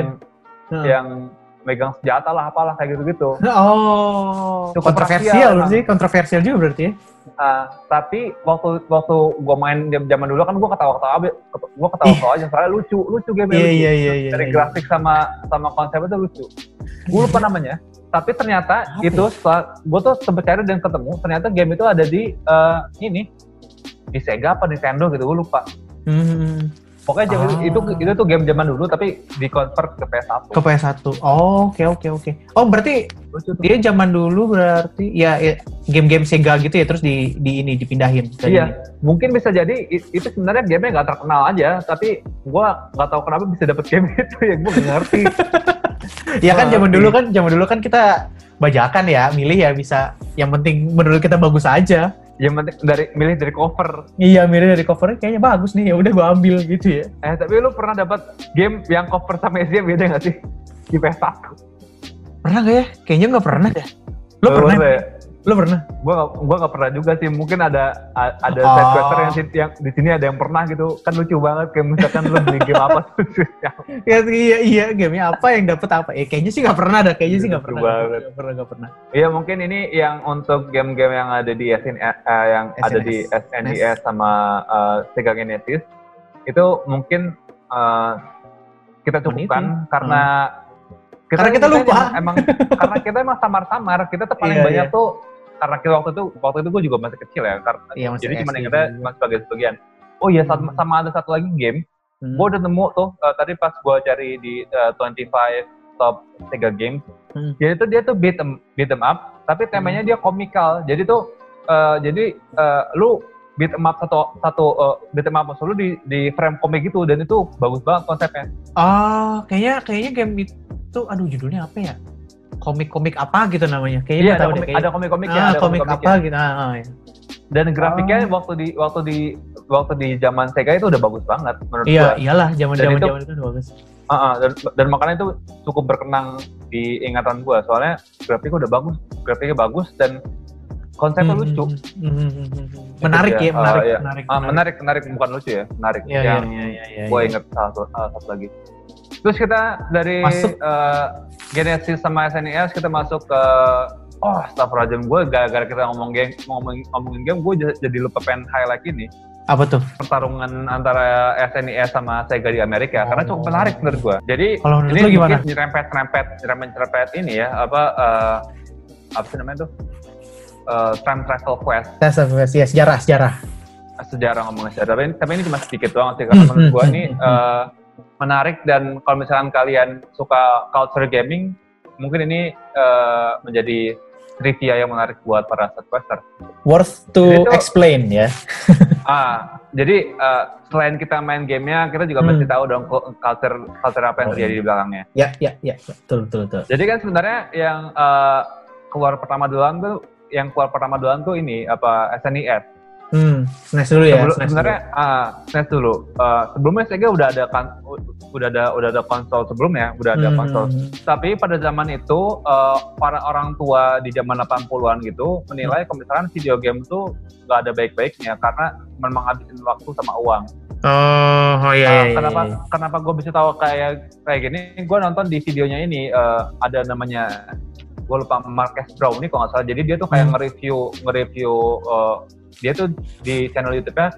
Speaker 3: Heeh.
Speaker 2: yang megang senjata lah apalah kayak gitu-gitu.
Speaker 3: Oh,
Speaker 2: Itu kontroversial,
Speaker 3: kontroversial berarti, kontroversial juga berarti ya.
Speaker 2: Ah, tapi waktu waktu gua main jam- zaman dulu kan gua ketawa-ketawa abe- gua ketawa-ketawa aja soalnya lucu lucu game
Speaker 3: Iya iya iya iya.
Speaker 2: dari
Speaker 3: iya.
Speaker 2: grafik sama sama konsepnya tuh lucu. Gue lupa namanya, tapi ternyata
Speaker 3: Apa ya?
Speaker 2: itu setelah gue tuh sempet cari dan ketemu, ternyata game itu ada di eh, ini di Sega apa Nintendo gitu, gue lupa.
Speaker 3: Hmm,
Speaker 2: Pokoknya zaman
Speaker 3: Ah.
Speaker 2: itu itu tuh game zaman dulu tapi di convert ke PS1.
Speaker 3: ke PS1. Oh, oke oke oke. Oh, berarti
Speaker 2: Lucu tuh.
Speaker 3: dia zaman dulu berarti ya ya, game-game Sega gitu ya terus di di ini dipindahin ke
Speaker 2: Iya,
Speaker 3: ini.
Speaker 2: mungkin bisa jadi i- itu sebenarnya gamenya nggak terkenal aja, tapi gue nggak tahu kenapa bisa dapet game itu ya gue ngerti.
Speaker 3: Ya kan
Speaker 2: Wah,
Speaker 3: zaman dulu
Speaker 2: iya.
Speaker 3: kan zaman dulu kan kita bajakan ya, milih ya bisa yang penting menurut kita bagus aja.
Speaker 2: Yang penting dari milih dari cover.
Speaker 3: Iya, milih dari covernya kayaknya bagus nih. Ya udah gua ambil gitu ya.
Speaker 2: Eh tapi lu pernah dapat game yang cover sama isinya beda nggak sih di PS1?
Speaker 3: Pernah gak ya? Kayaknya nggak pernah deh. Lo
Speaker 2: Lu
Speaker 3: pernah?
Speaker 2: pernah ya? Lu
Speaker 3: Lo pernah?
Speaker 2: gua gua nggak pernah juga sih mungkin ada a- ada
Speaker 3: Oh.
Speaker 2: side quester yang, si- yang di sini ada yang pernah gitu kan lucu banget kayak misalkan lu beli game apa tuh
Speaker 3: Ya, iya, iya, gamenya apa yang dapat apa? Eh, kayaknya sih nggak pernah ada, kayaknya sih nggak
Speaker 2: Lucu
Speaker 3: pernah.
Speaker 2: banget.
Speaker 3: Nggak pernah, nggak pernah.
Speaker 2: Iya mungkin ini yang untuk game-game yang ada di SN, eh, yang ada di
Speaker 3: SNS.
Speaker 2: SNES sama eh, Sega Genesis itu mungkin eh, kita
Speaker 3: Cuman
Speaker 2: cukupkan
Speaker 3: itu.
Speaker 2: karena
Speaker 3: Hmm. Karena kita lupa.
Speaker 2: emang- emang karena kita emang samar-samar kita tuh paling
Speaker 3: Iya,
Speaker 2: banyak
Speaker 3: iya.
Speaker 2: tuh karena kita waktu itu waktu itu gue juga masih kecil ya karena
Speaker 3: Iya, masih
Speaker 2: jadi cuma
Speaker 3: SD
Speaker 2: ingetnya
Speaker 3: juga.
Speaker 2: cuma sebagai sebagian oh iya sama,
Speaker 3: Hmm.
Speaker 2: sama ada satu lagi game
Speaker 3: Hmm.
Speaker 2: gue udah nemu tuh eh, tadi pas gue cari di eh, 25 top Sega games
Speaker 3: Hmm.
Speaker 2: jadi tuh dia tuh beat em, beat em up tapi temanya dia komikal jadi tuh eh, jadi eh, lu beat em up satu satu eh, beat em up musuh lu di di frame komik gitu dan itu bagus banget konsepnya
Speaker 3: Oh, kayaknya kayaknya game itu, aduh judulnya apa ya? Komik-komik apa gitu namanya? Kayaknya
Speaker 2: iya
Speaker 3: nggak
Speaker 2: ada
Speaker 3: tahu deh,
Speaker 2: komik
Speaker 3: kayaknya.
Speaker 2: ada komik komiknya
Speaker 3: Ah,
Speaker 2: ada
Speaker 3: komik, apa Ah.
Speaker 2: komik-komiknya.
Speaker 3: gitu? Ah, ah, ya.
Speaker 2: dan grafiknya waktu di waktu di waktu di zaman Sega itu udah bagus banget menurut
Speaker 3: Iya,
Speaker 2: gua
Speaker 3: iyalah, zaman-zaman
Speaker 2: Dan itu-
Speaker 3: zaman itu udah bagus.
Speaker 2: Ah, ah, dan, dan makanya itu cukup berkenang di ingatan gua soalnya grafiknya udah bagus grafiknya bagus dan konsepnya
Speaker 3: Hmm,
Speaker 2: lucu
Speaker 3: hmm, hmm, hmm, hmm, hmm. Menarik
Speaker 2: Iya,
Speaker 3: ya,
Speaker 2: ah,
Speaker 3: menarik,
Speaker 2: iya.
Speaker 3: menarik,
Speaker 2: Ah, menarik, menarik, bukan lucu ya, menarik.
Speaker 3: Iya, iya,
Speaker 2: yang
Speaker 3: iya, iya, iya,
Speaker 2: gue
Speaker 3: iya.
Speaker 2: inget salah satu, salah satu lagi. Terus kita dari
Speaker 3: Masuk.
Speaker 2: eh, Genesis sama SNES kita masuk ke oh astagfirullahaladzim gue gara-gara kita ngomong game ngomongin, ngomongin game gue j- jadi lupa pengen highlight ini
Speaker 3: Apa tuh?
Speaker 2: pertarungan antara SNES sama Sega di Amerika karena cukup
Speaker 3: Oh.
Speaker 2: menarik menurut gue. Jadi
Speaker 3: Kalau menurut
Speaker 2: ini
Speaker 3: lu gimana?
Speaker 2: mungkin nyerempet-nyerempet nyerempet-nyerempet ini ya apa eh, apa sih namanya tuh Eh, time travel quest
Speaker 3: Tes ya, sejarah, sejarah.
Speaker 2: sejarah ngomongin sejarah tapi, tapi ini cuma sedikit doang sih karena
Speaker 3: Hmm,
Speaker 2: menurut
Speaker 3: hmm,
Speaker 2: gua
Speaker 3: hmm,
Speaker 2: ini
Speaker 3: hmm.
Speaker 2: eh, menarik dan kalau misalkan kalian suka culture gaming mungkin ini eh, menjadi trivia yang menarik buat para setquester
Speaker 4: worth
Speaker 2: Jadi
Speaker 4: to
Speaker 2: itu-
Speaker 4: explain ya.
Speaker 2: ah jadi eh, selain kita main gamenya kita juga
Speaker 3: Hmm. iya.
Speaker 2: pasti tahu dong kul- culture culture apa yang
Speaker 4: Oh,
Speaker 2: terjadi di belakangnya
Speaker 4: Ya, ya, ya, betul, betul, betul.
Speaker 2: jadi kan sebenarnya yang eh, keluar pertama duluan tuh yang keluar pertama duluan tuh ini apa SNES
Speaker 3: Hmm, SNES dulu ya.
Speaker 2: Sebelum-
Speaker 3: SNES dulu.
Speaker 2: sebenarnya ah SNES dulu. Eh, sebelumnya Sega udah ada kan, udah ada udah ada konsol sebelumnya, udah ada
Speaker 3: Hmm,
Speaker 2: konsol. Tapi pada zaman itu eh, para orang tua di zaman 80-an gitu menilai
Speaker 3: Hmm.
Speaker 2: kalau misalkan video game itu nggak ada baik-baiknya karena memang habisin waktu sama uang. Nah,
Speaker 3: Oh, oh iya, iya, iya,
Speaker 2: kenapa
Speaker 3: iya.
Speaker 2: kenapa gue bisa tahu kayak kayak gini? Gue nonton di videonya ini eh, ada namanya gue lupa Marques Brown ini kalau nggak salah. Jadi dia tuh kayak
Speaker 3: Hmm.
Speaker 2: nge-review nge-review eh, dia tuh di channel YouTube-nya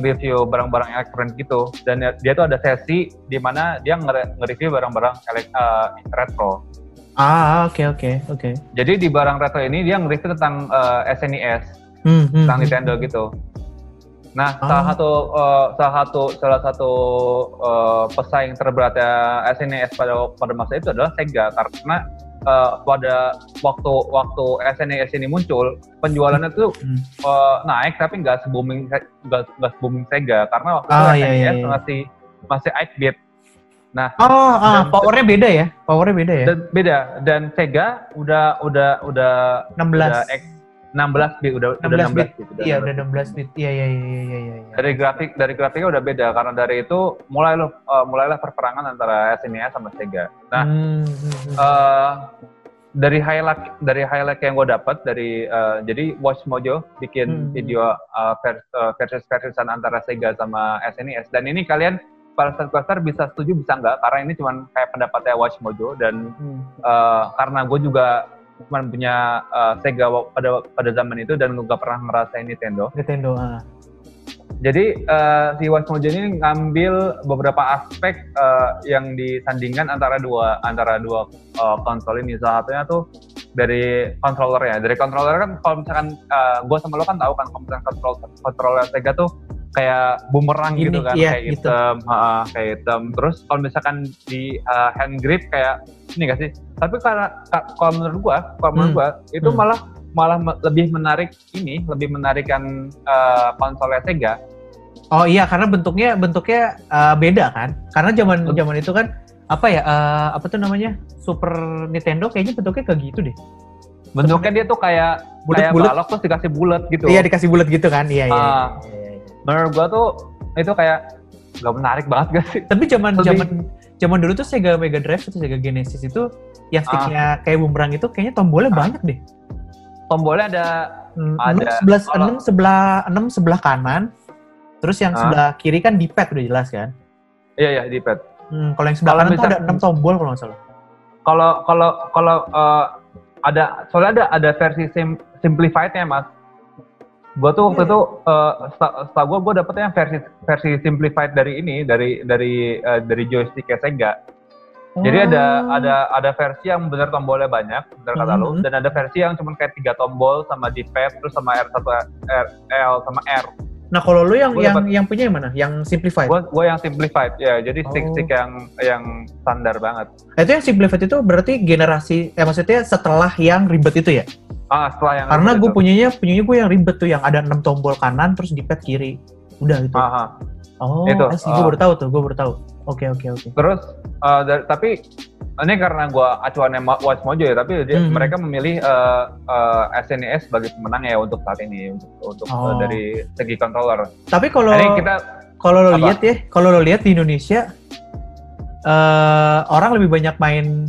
Speaker 2: review barang-barang elektronik gitu dan ya- dia tuh ada sesi di mana dia nge- nge-review barang-barang elek- eh, retro.
Speaker 3: Ah, oke, oke, oke.
Speaker 2: Jadi di barang retro ini dia nge-review tentang eh, SNES
Speaker 3: Hmm,
Speaker 2: tentang
Speaker 3: hmm, hmm.
Speaker 2: Nintendo gitu. Nah,
Speaker 3: Ah.
Speaker 2: salah satu eh, salah satu salah satu eh, pesaing terberatnya SNES pada pada masa itu adalah Sega karena eh, pada waktu waktu SNES ini muncul penjualannya tuh
Speaker 3: Hmm.
Speaker 2: eh, naik tapi nggak se booming nggak nggak se booming Sega karena waktu
Speaker 3: Ah,
Speaker 2: itu
Speaker 3: iya, iya,
Speaker 2: SNES
Speaker 3: iya.
Speaker 2: masih masih 8 bit
Speaker 3: Oh,
Speaker 2: Dan-
Speaker 3: ah, powernya beda ya? Powernya beda ya?
Speaker 2: dan beda dan Sega udah udah udah
Speaker 3: 16.
Speaker 2: udah X- 16 bit udah 16 udah
Speaker 3: 16 bit.
Speaker 2: 16 bit
Speaker 3: Iya, udah 16 bit. Iya, iya, iya, iya, iya. iya.
Speaker 2: dari grafik dari grafiknya udah beda karena dari itu mulai lo- eh, mulailah perperangan antara SNES sama Sega. Nah,
Speaker 3: Hmm, hmm, hmm.
Speaker 2: eh, dari highlight dari highlight yang gue dapat dari eh, jadi Watch Mojo bikin
Speaker 3: Hmm.
Speaker 2: video eh, vers- eh, versus versisan antara Sega sama SNES dan ini kalian para podcaster bisa setuju bisa nggak karena ini cuman kayak pendapatnya Watch Mojo dan
Speaker 3: Hmm.
Speaker 2: eh, karena gue juga cuma punya eh, Sega wa- pada pada zaman itu dan gue gak pernah ngerasain Nintendo
Speaker 3: Nintendo, ah.
Speaker 2: jadi eh, si Wasmojo ini ngambil beberapa aspek eh, yang disandingkan antara dua antara dua eh, konsol ini. Salah satunya tuh dari controller ya. Dari controller kan kalau misalkan eh, gua sama lo kan tahu kan kalau misalkan control, controller Sega tuh kayak bumerang
Speaker 3: Gini,
Speaker 2: gitu kan,
Speaker 3: iya,
Speaker 2: kayak
Speaker 3: gitu.
Speaker 2: hitam, ha, kayak hitam. Terus kalau misalkan di eh, hand grip kayak ini gak sih? Tapi karena ka- kalau menurut gua, kalau menurut
Speaker 3: Hmm.
Speaker 2: gua itu
Speaker 3: Hmm.
Speaker 2: malah malah me- lebih menarik ini, lebih menarikan eh, konsolnya Sega
Speaker 3: Oh iya, karena bentuknya bentuknya eh, beda kan? Karena zaman
Speaker 2: Lebih-
Speaker 3: zaman itu kan apa ya? eh, apa tuh namanya? Super Nintendo kayaknya bentuknya kayak gitu deh.
Speaker 2: bentuknya kan dia tuh kayak kayak
Speaker 3: Bulat-bulat.
Speaker 2: balok terus dikasih bulat gitu.
Speaker 3: Iya, dikasih bulat gitu kan? Iya, iya.
Speaker 2: Ah.
Speaker 3: iya, iya, iya.
Speaker 2: Menurut gua tuh itu kayak gak menarik banget gak sih?
Speaker 3: Tapi zaman
Speaker 2: Lebih-
Speaker 3: zaman zaman dulu tuh Sega Mega
Speaker 2: Ah.
Speaker 3: Drive atau Sega Genesis itu yang sticknya kayak bumerang itu kayaknya tombolnya banyak deh.
Speaker 2: tombolnya ada
Speaker 3: Hmm,
Speaker 2: Ah. Ada.
Speaker 3: enam sebelah
Speaker 2: Kalau-
Speaker 3: enam sebelah enam sebelah kanan terus yang
Speaker 2: Hah?
Speaker 3: sebelah kiri kan di pad udah jelas kan
Speaker 2: iya ya di pad.
Speaker 3: Hmm, kalau yang sebelah
Speaker 2: Kalau
Speaker 3: kanan tuh
Speaker 2: bisa-
Speaker 3: ada enam tombol kalau nggak salah
Speaker 2: Kalau kalau kalau eh, ada soalnya ada ada versi sim, simplified-nya, Mas. Gua tuh
Speaker 3: Iya,
Speaker 2: waktu itu eh, seta- setahu gua gua dapetnya yang versi versi simplified dari ini dari dari eh, dari joystick Sega. Jadi ada
Speaker 3: Oh.
Speaker 2: ada ada versi yang bener tombolnya banyak, bener kata lu,
Speaker 3: Mhm.
Speaker 2: dan ada versi yang cuma kayak tiga tombol sama di pad terus sama R1 R L sama R.
Speaker 3: nah kalau lu yang
Speaker 2: Gua
Speaker 3: yang
Speaker 2: dapat-
Speaker 3: yang punya yang mana yang simplified
Speaker 2: Gua gua yang simplified ya, jadi
Speaker 3: Oh.
Speaker 2: stick-stick yang yang standar banget.
Speaker 3: Nah, itu yang simplified itu berarti generasi eh maksudnya setelah yang ribet itu ya
Speaker 2: Ah, setelah yang
Speaker 3: karena
Speaker 2: itu-
Speaker 3: gue punyanya punyanya gue yang ribet tuh yang ada enam tombol kanan terus di pad kiri udah gitu
Speaker 2: Aha.
Speaker 3: oh
Speaker 2: itu,
Speaker 3: itu, gue
Speaker 2: ah.
Speaker 3: baru tahu tuh gue baru tahu oke oke oke
Speaker 2: Terus eh, dari- tapi ini karena gua acuannya Ma- Watch Mojo ya, tapi dia-
Speaker 3: Mhm.
Speaker 2: mereka memilih eh, eh, SNES sebagai pemenang ya untuk saat ini untuk, untuk eh,
Speaker 3: Oh.
Speaker 2: dari segi controller.
Speaker 3: tapi kalau
Speaker 2: Ini kita
Speaker 3: kalau lo
Speaker 2: Apa?
Speaker 3: lihat ya, kalau lo lihat di Indonesia eh orang lebih banyak main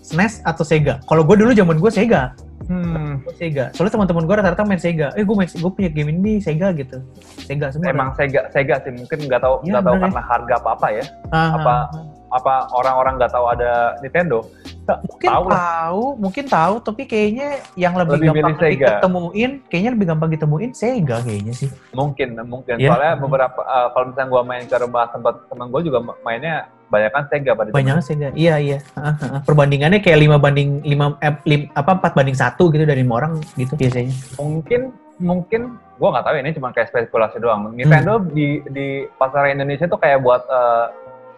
Speaker 3: SNES atau Sega. Kalau gue dulu zaman gue Sega,
Speaker 2: hmm,
Speaker 3: gue Sega. Soalnya teman-teman gue rata-rata main Sega. Eh gue main, gue punya game ini Sega gitu. Sega semua.
Speaker 2: emang Sega Sega sih mungkin nggak tahu
Speaker 3: Iya,
Speaker 2: nggak tahu
Speaker 3: bener ya.
Speaker 2: karena harga apa apa ya.
Speaker 3: Ah,
Speaker 2: apa?
Speaker 3: ah, ah.
Speaker 2: apa orang-orang nggak tahu ada Nintendo
Speaker 3: Mungkin
Speaker 2: Tahu
Speaker 3: tahu,
Speaker 2: lah.
Speaker 3: mungkin tahu, tapi kayaknya yang lebih,
Speaker 2: Lebih
Speaker 3: gampang
Speaker 2: milih Sega.
Speaker 3: ditemuin, kayaknya lebih gampang ditemuin Sega kayaknya sih.
Speaker 2: mungkin mungkin
Speaker 3: Iya.
Speaker 2: soalnya beberapa eh, kalau misalnya gua main ke rumah tempat teman gua juga mainnya banyak kan Sega pada zaman
Speaker 3: Banyak Sega. Iya iya. Ah, ah, ah. Perbandingannya kayak 5 banding 5 eh, lim- apa 4 banding 1 gitu dari lima orang gitu biasanya.
Speaker 2: mungkin mungkin gua nggak tahu ini cuma kayak spekulasi
Speaker 3: Hmm.
Speaker 2: doang Nintendo di di pasar Indonesia tuh kayak buat eh,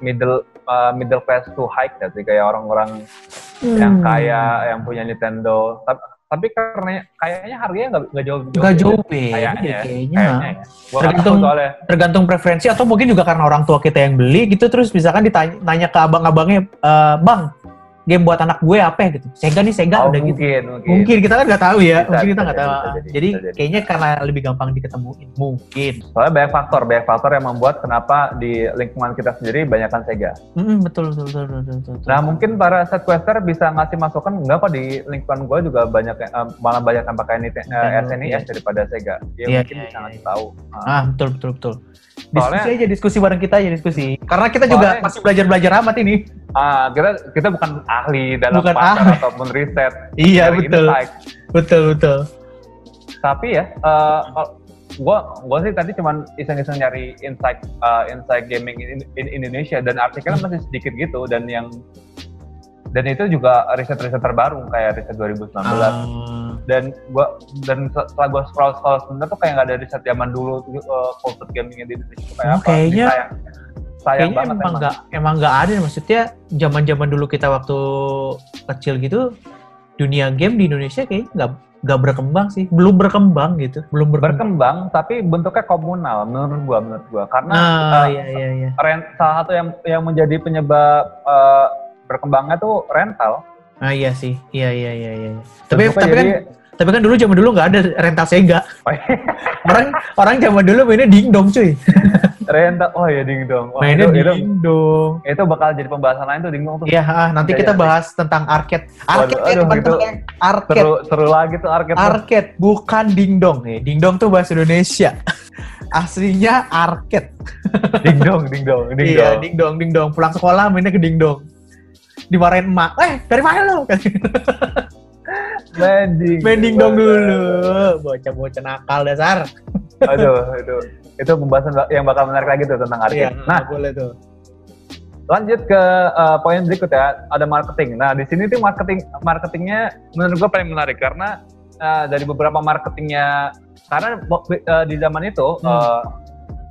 Speaker 2: middle eh, middle class to high class sih kayak orang-orang yang
Speaker 3: Hmm.
Speaker 2: kaya yang punya Nintendo tapi, tapi karena kayaknya harganya nggak nggak jauh
Speaker 3: Gak jauh beda
Speaker 2: Kayaknya.
Speaker 3: ya, kayaknya.
Speaker 2: kayaknya ya. Gua nggak tahu
Speaker 3: Tergantung-
Speaker 2: soalnya
Speaker 3: Tergantung preferensi atau mungkin juga karena orang tua kita yang beli gitu terus misalkan ditanya nanya ke abang-abangnya, e, "Bang, game buat anak gue apa ya?" gitu. Sega nih Sega
Speaker 2: Oh,
Speaker 3: udah gitu.
Speaker 2: mungkin,
Speaker 3: Mungkin kita kan nggak tahu ya,
Speaker 2: Bisa,
Speaker 3: mungkin
Speaker 2: bisa
Speaker 3: kita nggak
Speaker 2: jadi,
Speaker 3: tahu.
Speaker 2: bisa
Speaker 3: Ah,
Speaker 2: jadi,
Speaker 3: Jadi
Speaker 2: bisa jadi.
Speaker 3: kayaknya karena lebih gampang diketemuin, mungkin.
Speaker 2: Soalnya banyak faktor, banyak faktor yang membuat kenapa di lingkungan kita sendiri banyakkan Sega.
Speaker 3: Mm-mm, Hmm, betul, betul, betul, betul, betul, betul.
Speaker 2: Nah mungkin para set quester bisa ngasih masukan enggak kok di lingkungan gue juga banyak yang- eh, malah banyak yang pakai Nite- eh,
Speaker 3: Nintendo,
Speaker 2: SNES
Speaker 3: iya.
Speaker 2: daripada Sega. Ya
Speaker 3: Iya,
Speaker 2: mungkin
Speaker 3: iya,
Speaker 2: bisa
Speaker 3: iya,
Speaker 2: ngasih tahu. Nah,
Speaker 3: Ah, betul, betul, betul. Diskusi
Speaker 2: Soalnya-
Speaker 3: aja, diskusi bareng kita aja, diskusi. Karena kita juga
Speaker 2: Soalnya-
Speaker 3: masih belajar-belajar amat ini.
Speaker 2: ah, kita kita bukan ahli dalam
Speaker 3: Bukan
Speaker 2: pasar
Speaker 3: ahli.
Speaker 2: ataupun riset.
Speaker 3: Iya,
Speaker 2: dari
Speaker 3: betul.
Speaker 2: insight.
Speaker 3: Betul, betul.
Speaker 2: Tapi ya, eh, kalau- gua gue sih tadi cuman iseng-iseng nyari insight eh, insight gaming in, in Indonesia dan artikelnya masih sedikit gitu dan yang dan itu juga riset-riset terbaru kayak riset 2019
Speaker 3: Ah.
Speaker 2: dan gua dan setelah gua scroll scroll sebenarnya tuh kayak nggak ada riset zaman dulu uh, culture gaming di Indonesia tuh kayak
Speaker 3: Oh,
Speaker 2: apa
Speaker 3: kayaknya-
Speaker 2: Jadi sayang, sayang
Speaker 3: Kayaknya
Speaker 2: banget
Speaker 3: emang nggak emang nggak ada maksudnya zaman zaman dulu kita waktu kecil gitu dunia game di Indonesia kayaknya nggak nggak berkembang sih belum berkembang gitu belum berkembang.
Speaker 2: berkembang tapi bentuknya komunal menurut gua menurut gua karena
Speaker 3: Nah
Speaker 2: uh,
Speaker 3: iya iya iya
Speaker 2: rent salah satu yang yang menjadi penyebab uh, berkembangnya tuh rental
Speaker 3: ah iya sih iya iya iya iya. Tapi
Speaker 2: Bentuknya
Speaker 3: tapi kan
Speaker 2: jadi-
Speaker 3: tapi kan dulu zaman dulu nggak ada rental Sega
Speaker 2: Oh, iya.
Speaker 3: kan- orang orang zaman dulu mainnya dingdong cuy
Speaker 2: rental oh ya ding dong Wah,
Speaker 3: mainnya
Speaker 2: itu, itu,
Speaker 3: dingdong.
Speaker 2: itu bakal jadi pembahasan lain tuh ding dong tuh
Speaker 3: Iya ah, nanti
Speaker 2: Iya,
Speaker 3: kita
Speaker 2: iya.
Speaker 3: bahas tentang arcade arcade
Speaker 2: Waduh,
Speaker 3: ya
Speaker 2: aduh,
Speaker 3: teman-teman arcade
Speaker 2: seru seru lagi tuh arcade tuh.
Speaker 3: Arcade bukan dingdong ya. Dingdong tuh bahasa Indonesia. Aslinya arcade.
Speaker 2: ding dong ding dong ding
Speaker 3: Iya,
Speaker 2: dong
Speaker 3: dingdong, dingdong. Pulang sekolah mainnya ke dingdong. Dimarahin emak, "Eh, dari mana lo?"
Speaker 2: Iya, mending
Speaker 3: Main dingdong dulu. Bocah-bocah nakal dasar.
Speaker 2: aduh itu itu pembahasan yang bakal menarik lagi tuh tentang arcade.
Speaker 3: Iya,
Speaker 2: nah,
Speaker 3: nah, boleh tuh.
Speaker 2: lanjut ke eh, poin berikut ya, ada marketing. Nah, di sini tuh marketing marketingnya menurut gua paling menarik karena eh, dari beberapa marketingnya karena waktu- eh, di zaman itu eh,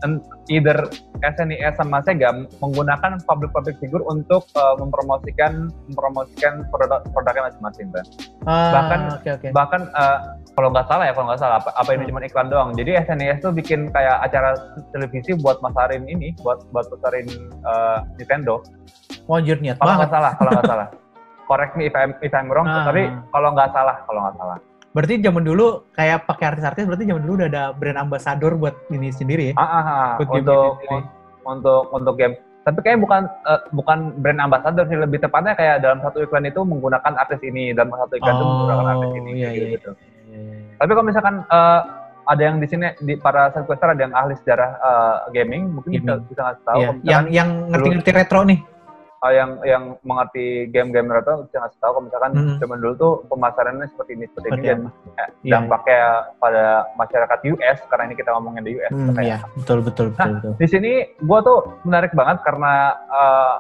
Speaker 2: en- either SNES sama Sega menggunakan public-public figure untuk eh, mempromosikan mempromosikan produk produknya masing-masing. Bang.
Speaker 3: Ah,
Speaker 2: bahkan-
Speaker 3: oke oke.
Speaker 2: Bahkan eh, kalau nggak salah ya, kalau nggak salah apa, apa ini
Speaker 3: Hmm.
Speaker 2: cuma iklan doang. Jadi SNES tuh bikin kayak acara televisi buat masarin ini, buat buat pasarin eh, Nintendo.
Speaker 3: Wajur niat
Speaker 2: Kalau
Speaker 3: banget.
Speaker 2: nggak salah, kalau nggak salah. Correct me if I'm, if I'm wrong,
Speaker 3: Ah.
Speaker 2: tapi kalau nggak salah, kalau nggak salah.
Speaker 3: Berarti zaman dulu kayak pakai artis-artis berarti zaman dulu udah ada brand ambassador buat ini sendiri ya.
Speaker 2: Ah, ah, ah.
Speaker 3: Buat game
Speaker 2: untuk
Speaker 3: sendiri. Iya,
Speaker 2: untuk untuk game. Tapi kayaknya bukan eh, bukan brand ambassador sih, lebih tepatnya kayak dalam satu iklan itu menggunakan artis ini, dalam satu iklan itu menggunakan artis ini.
Speaker 3: iya
Speaker 2: kayak
Speaker 3: iya.
Speaker 2: gitu.
Speaker 3: iya, iya.
Speaker 2: Tapi kalau misalkan eh, ada yang di sini di para sidequester ada yang ahli sejarah eh, gaming, mungkin bisa bisa ngasih tahu.
Speaker 3: Iya,
Speaker 2: Kalau misalkan
Speaker 3: yang yang ngerti-ngerti retro nih.
Speaker 2: eh, yang yang mengerti game-game retro bisa ngasih tahu kalau misalkan
Speaker 3: Hmm.
Speaker 2: zaman dulu tuh pemasarannya seperti ini seperti ini
Speaker 3: Seperti
Speaker 2: dan
Speaker 3: apa.
Speaker 2: eh,
Speaker 4: Iya.
Speaker 2: dampaknya pada masyarakat US karena ini kita ngomongin di US.
Speaker 3: Hmm,
Speaker 2: kayak
Speaker 3: iya.
Speaker 4: Betul betul betul. betul.
Speaker 2: ya. di sini gua tuh menarik banget karena eh,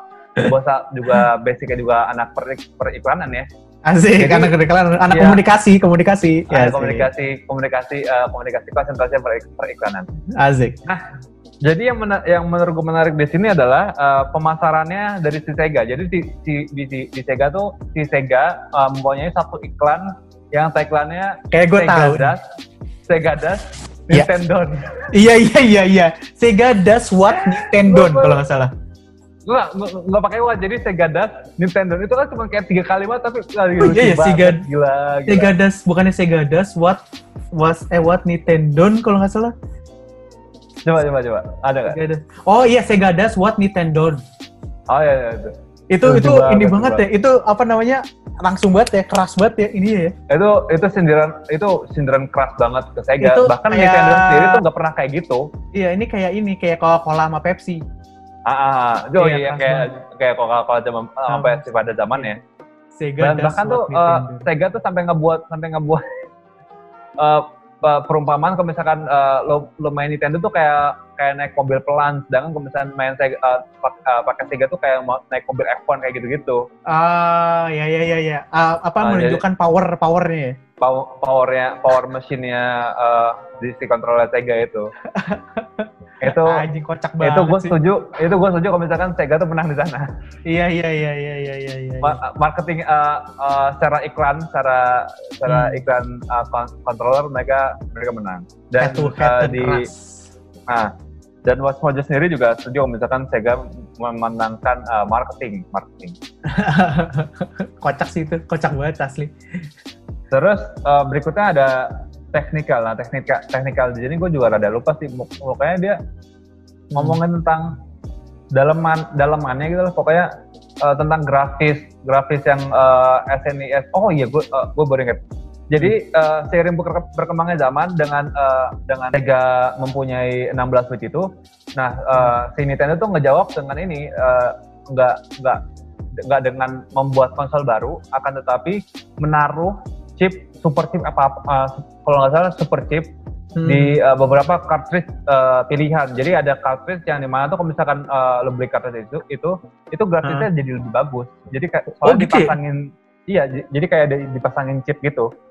Speaker 2: gua sa- juga basicnya juga anak per, periklanan ya
Speaker 3: Asik,
Speaker 2: Jadi-
Speaker 3: anak kedekatan, anak
Speaker 2: Iya.
Speaker 3: komunikasi, komunikasi. Iya,
Speaker 2: Eh,
Speaker 3: asik.
Speaker 2: komunikasi komunikasi eh, komunikasi konsentrasi per- periklanan
Speaker 3: Asik.
Speaker 2: Jadi yang mena- yang menurut gue menarik di sini adalah eh, pemasarannya dari si Sega. Jadi si, si, di, di, di Sega tuh si Sega eh, mempunyai satu iklan yang tagline-nya
Speaker 3: Kayak gue
Speaker 2: Sega
Speaker 3: tahu.
Speaker 2: Das, Sega Das,
Speaker 3: Iya.
Speaker 2: Nintendo.
Speaker 3: Iya, iya, iya, iya. Sega does what Nintendo
Speaker 2: Gua-
Speaker 3: kalau nggak salah.
Speaker 2: Nggak, nggak- nggak pakai wah, jadi Sega Das, Nintendo. Itu kan cuma kayak tiga kalimat tapi lagi
Speaker 3: Oh, iya, iya, Sega-
Speaker 2: Gila, gila.
Speaker 3: Sega does, bukannya Sega does what was eh what Nintendo kalau nggak salah.
Speaker 2: Coba, coba, coba. Ada nggak?
Speaker 3: Sega does. Oh iya, Sega does what Nintendo.
Speaker 2: Oh iya, iya, itu.
Speaker 3: Itu
Speaker 2: Lucu
Speaker 3: itu
Speaker 2: banget,
Speaker 3: ini
Speaker 2: lucu
Speaker 3: banget ya. Itu apa namanya? Langsung banget ya, keras banget ya ini ya.
Speaker 2: Itu, itu sindiran, itu sindiran keras banget ke Sega.
Speaker 3: Itu iya.
Speaker 2: Bahkan
Speaker 3: kayak-
Speaker 2: Nintendo sendiri tuh nggak pernah kayak gitu.
Speaker 3: Iya, ini kayak ini kayak Coca-Cola sama Pepsi.
Speaker 2: Ah, ah, ah. Itu iya,
Speaker 3: Iya, pas
Speaker 2: kayak kayak Coca-Cola zaman apa ya, sih pada zamannya.
Speaker 3: Sega
Speaker 2: Dan
Speaker 3: does
Speaker 2: bahkan tuh
Speaker 3: what
Speaker 2: eh,
Speaker 3: Nintendo.
Speaker 2: Sega tuh sampai ngebuat sampai ngebuat eh, pe- perumpamaan kalau misalkan eh, lo, lo main Nintendo tuh kayak kayak naik mobil pelan, sedangkan kalau misalkan main Sega, eh, pak- eh, pakai Sega tuh kayak mau naik mobil F1 kayak gitu-gitu.
Speaker 3: Ah, ya ya ya ya. Ah, apa
Speaker 2: Ah,
Speaker 3: menunjukkan power powernya ya?
Speaker 2: Pow- Powernya, power mesinnya eh, di si controller Sega itu. itu
Speaker 3: Ah, Anjing kocak banget.
Speaker 2: itu gue
Speaker 3: sih.
Speaker 2: setuju, itu gue setuju kalau misalkan Sega tuh menang di sana.
Speaker 3: Iya iya iya iya iya iya. iya.
Speaker 2: Ma- marketing uh, uh, secara iklan, secara secara
Speaker 3: Hmm.
Speaker 2: iklan uh, kon- controller mereka mereka menang. Dan
Speaker 3: head to
Speaker 2: uh,
Speaker 3: head dan
Speaker 2: di
Speaker 3: keras.
Speaker 2: nah, dan Watchmojo sendiri juga setuju misalkan Sega memenangkan uh, marketing, marketing.
Speaker 3: kocak sih itu, kocak banget asli.
Speaker 2: Terus uh, berikutnya ada teknikal. Nah, teknika teknikal di sini gue juga rada lupa sih Muk- pokoknya dia ngomongin tentang daleman dalemannya gitu lah pokoknya eh, tentang grafis grafis yang eh, SNES oh iya gue gue baru inget jadi eh, seiring berke- berkembangnya zaman dengan eh, dengan Sega mempunyai 16 bit itu nah eh, si Nintendo tuh ngejawab dengan ini eh, nggak nggak nggak dengan membuat konsol baru akan tetapi menaruh chip super chip apa, apa eh, kalau nggak salah super chip
Speaker 3: Hmm.
Speaker 2: di uh, beberapa cartridge uh, pilihan. Jadi ada cartridge yang dimana tuh kalau misalkan uh, lo beli cartridge itu itu itu grafisnya jadi lebih bagus. Jadi kayak soalnya
Speaker 3: Oh, gitu ya?
Speaker 2: dipasangin iya j- jadi kayak ada dipasangin chip gitu.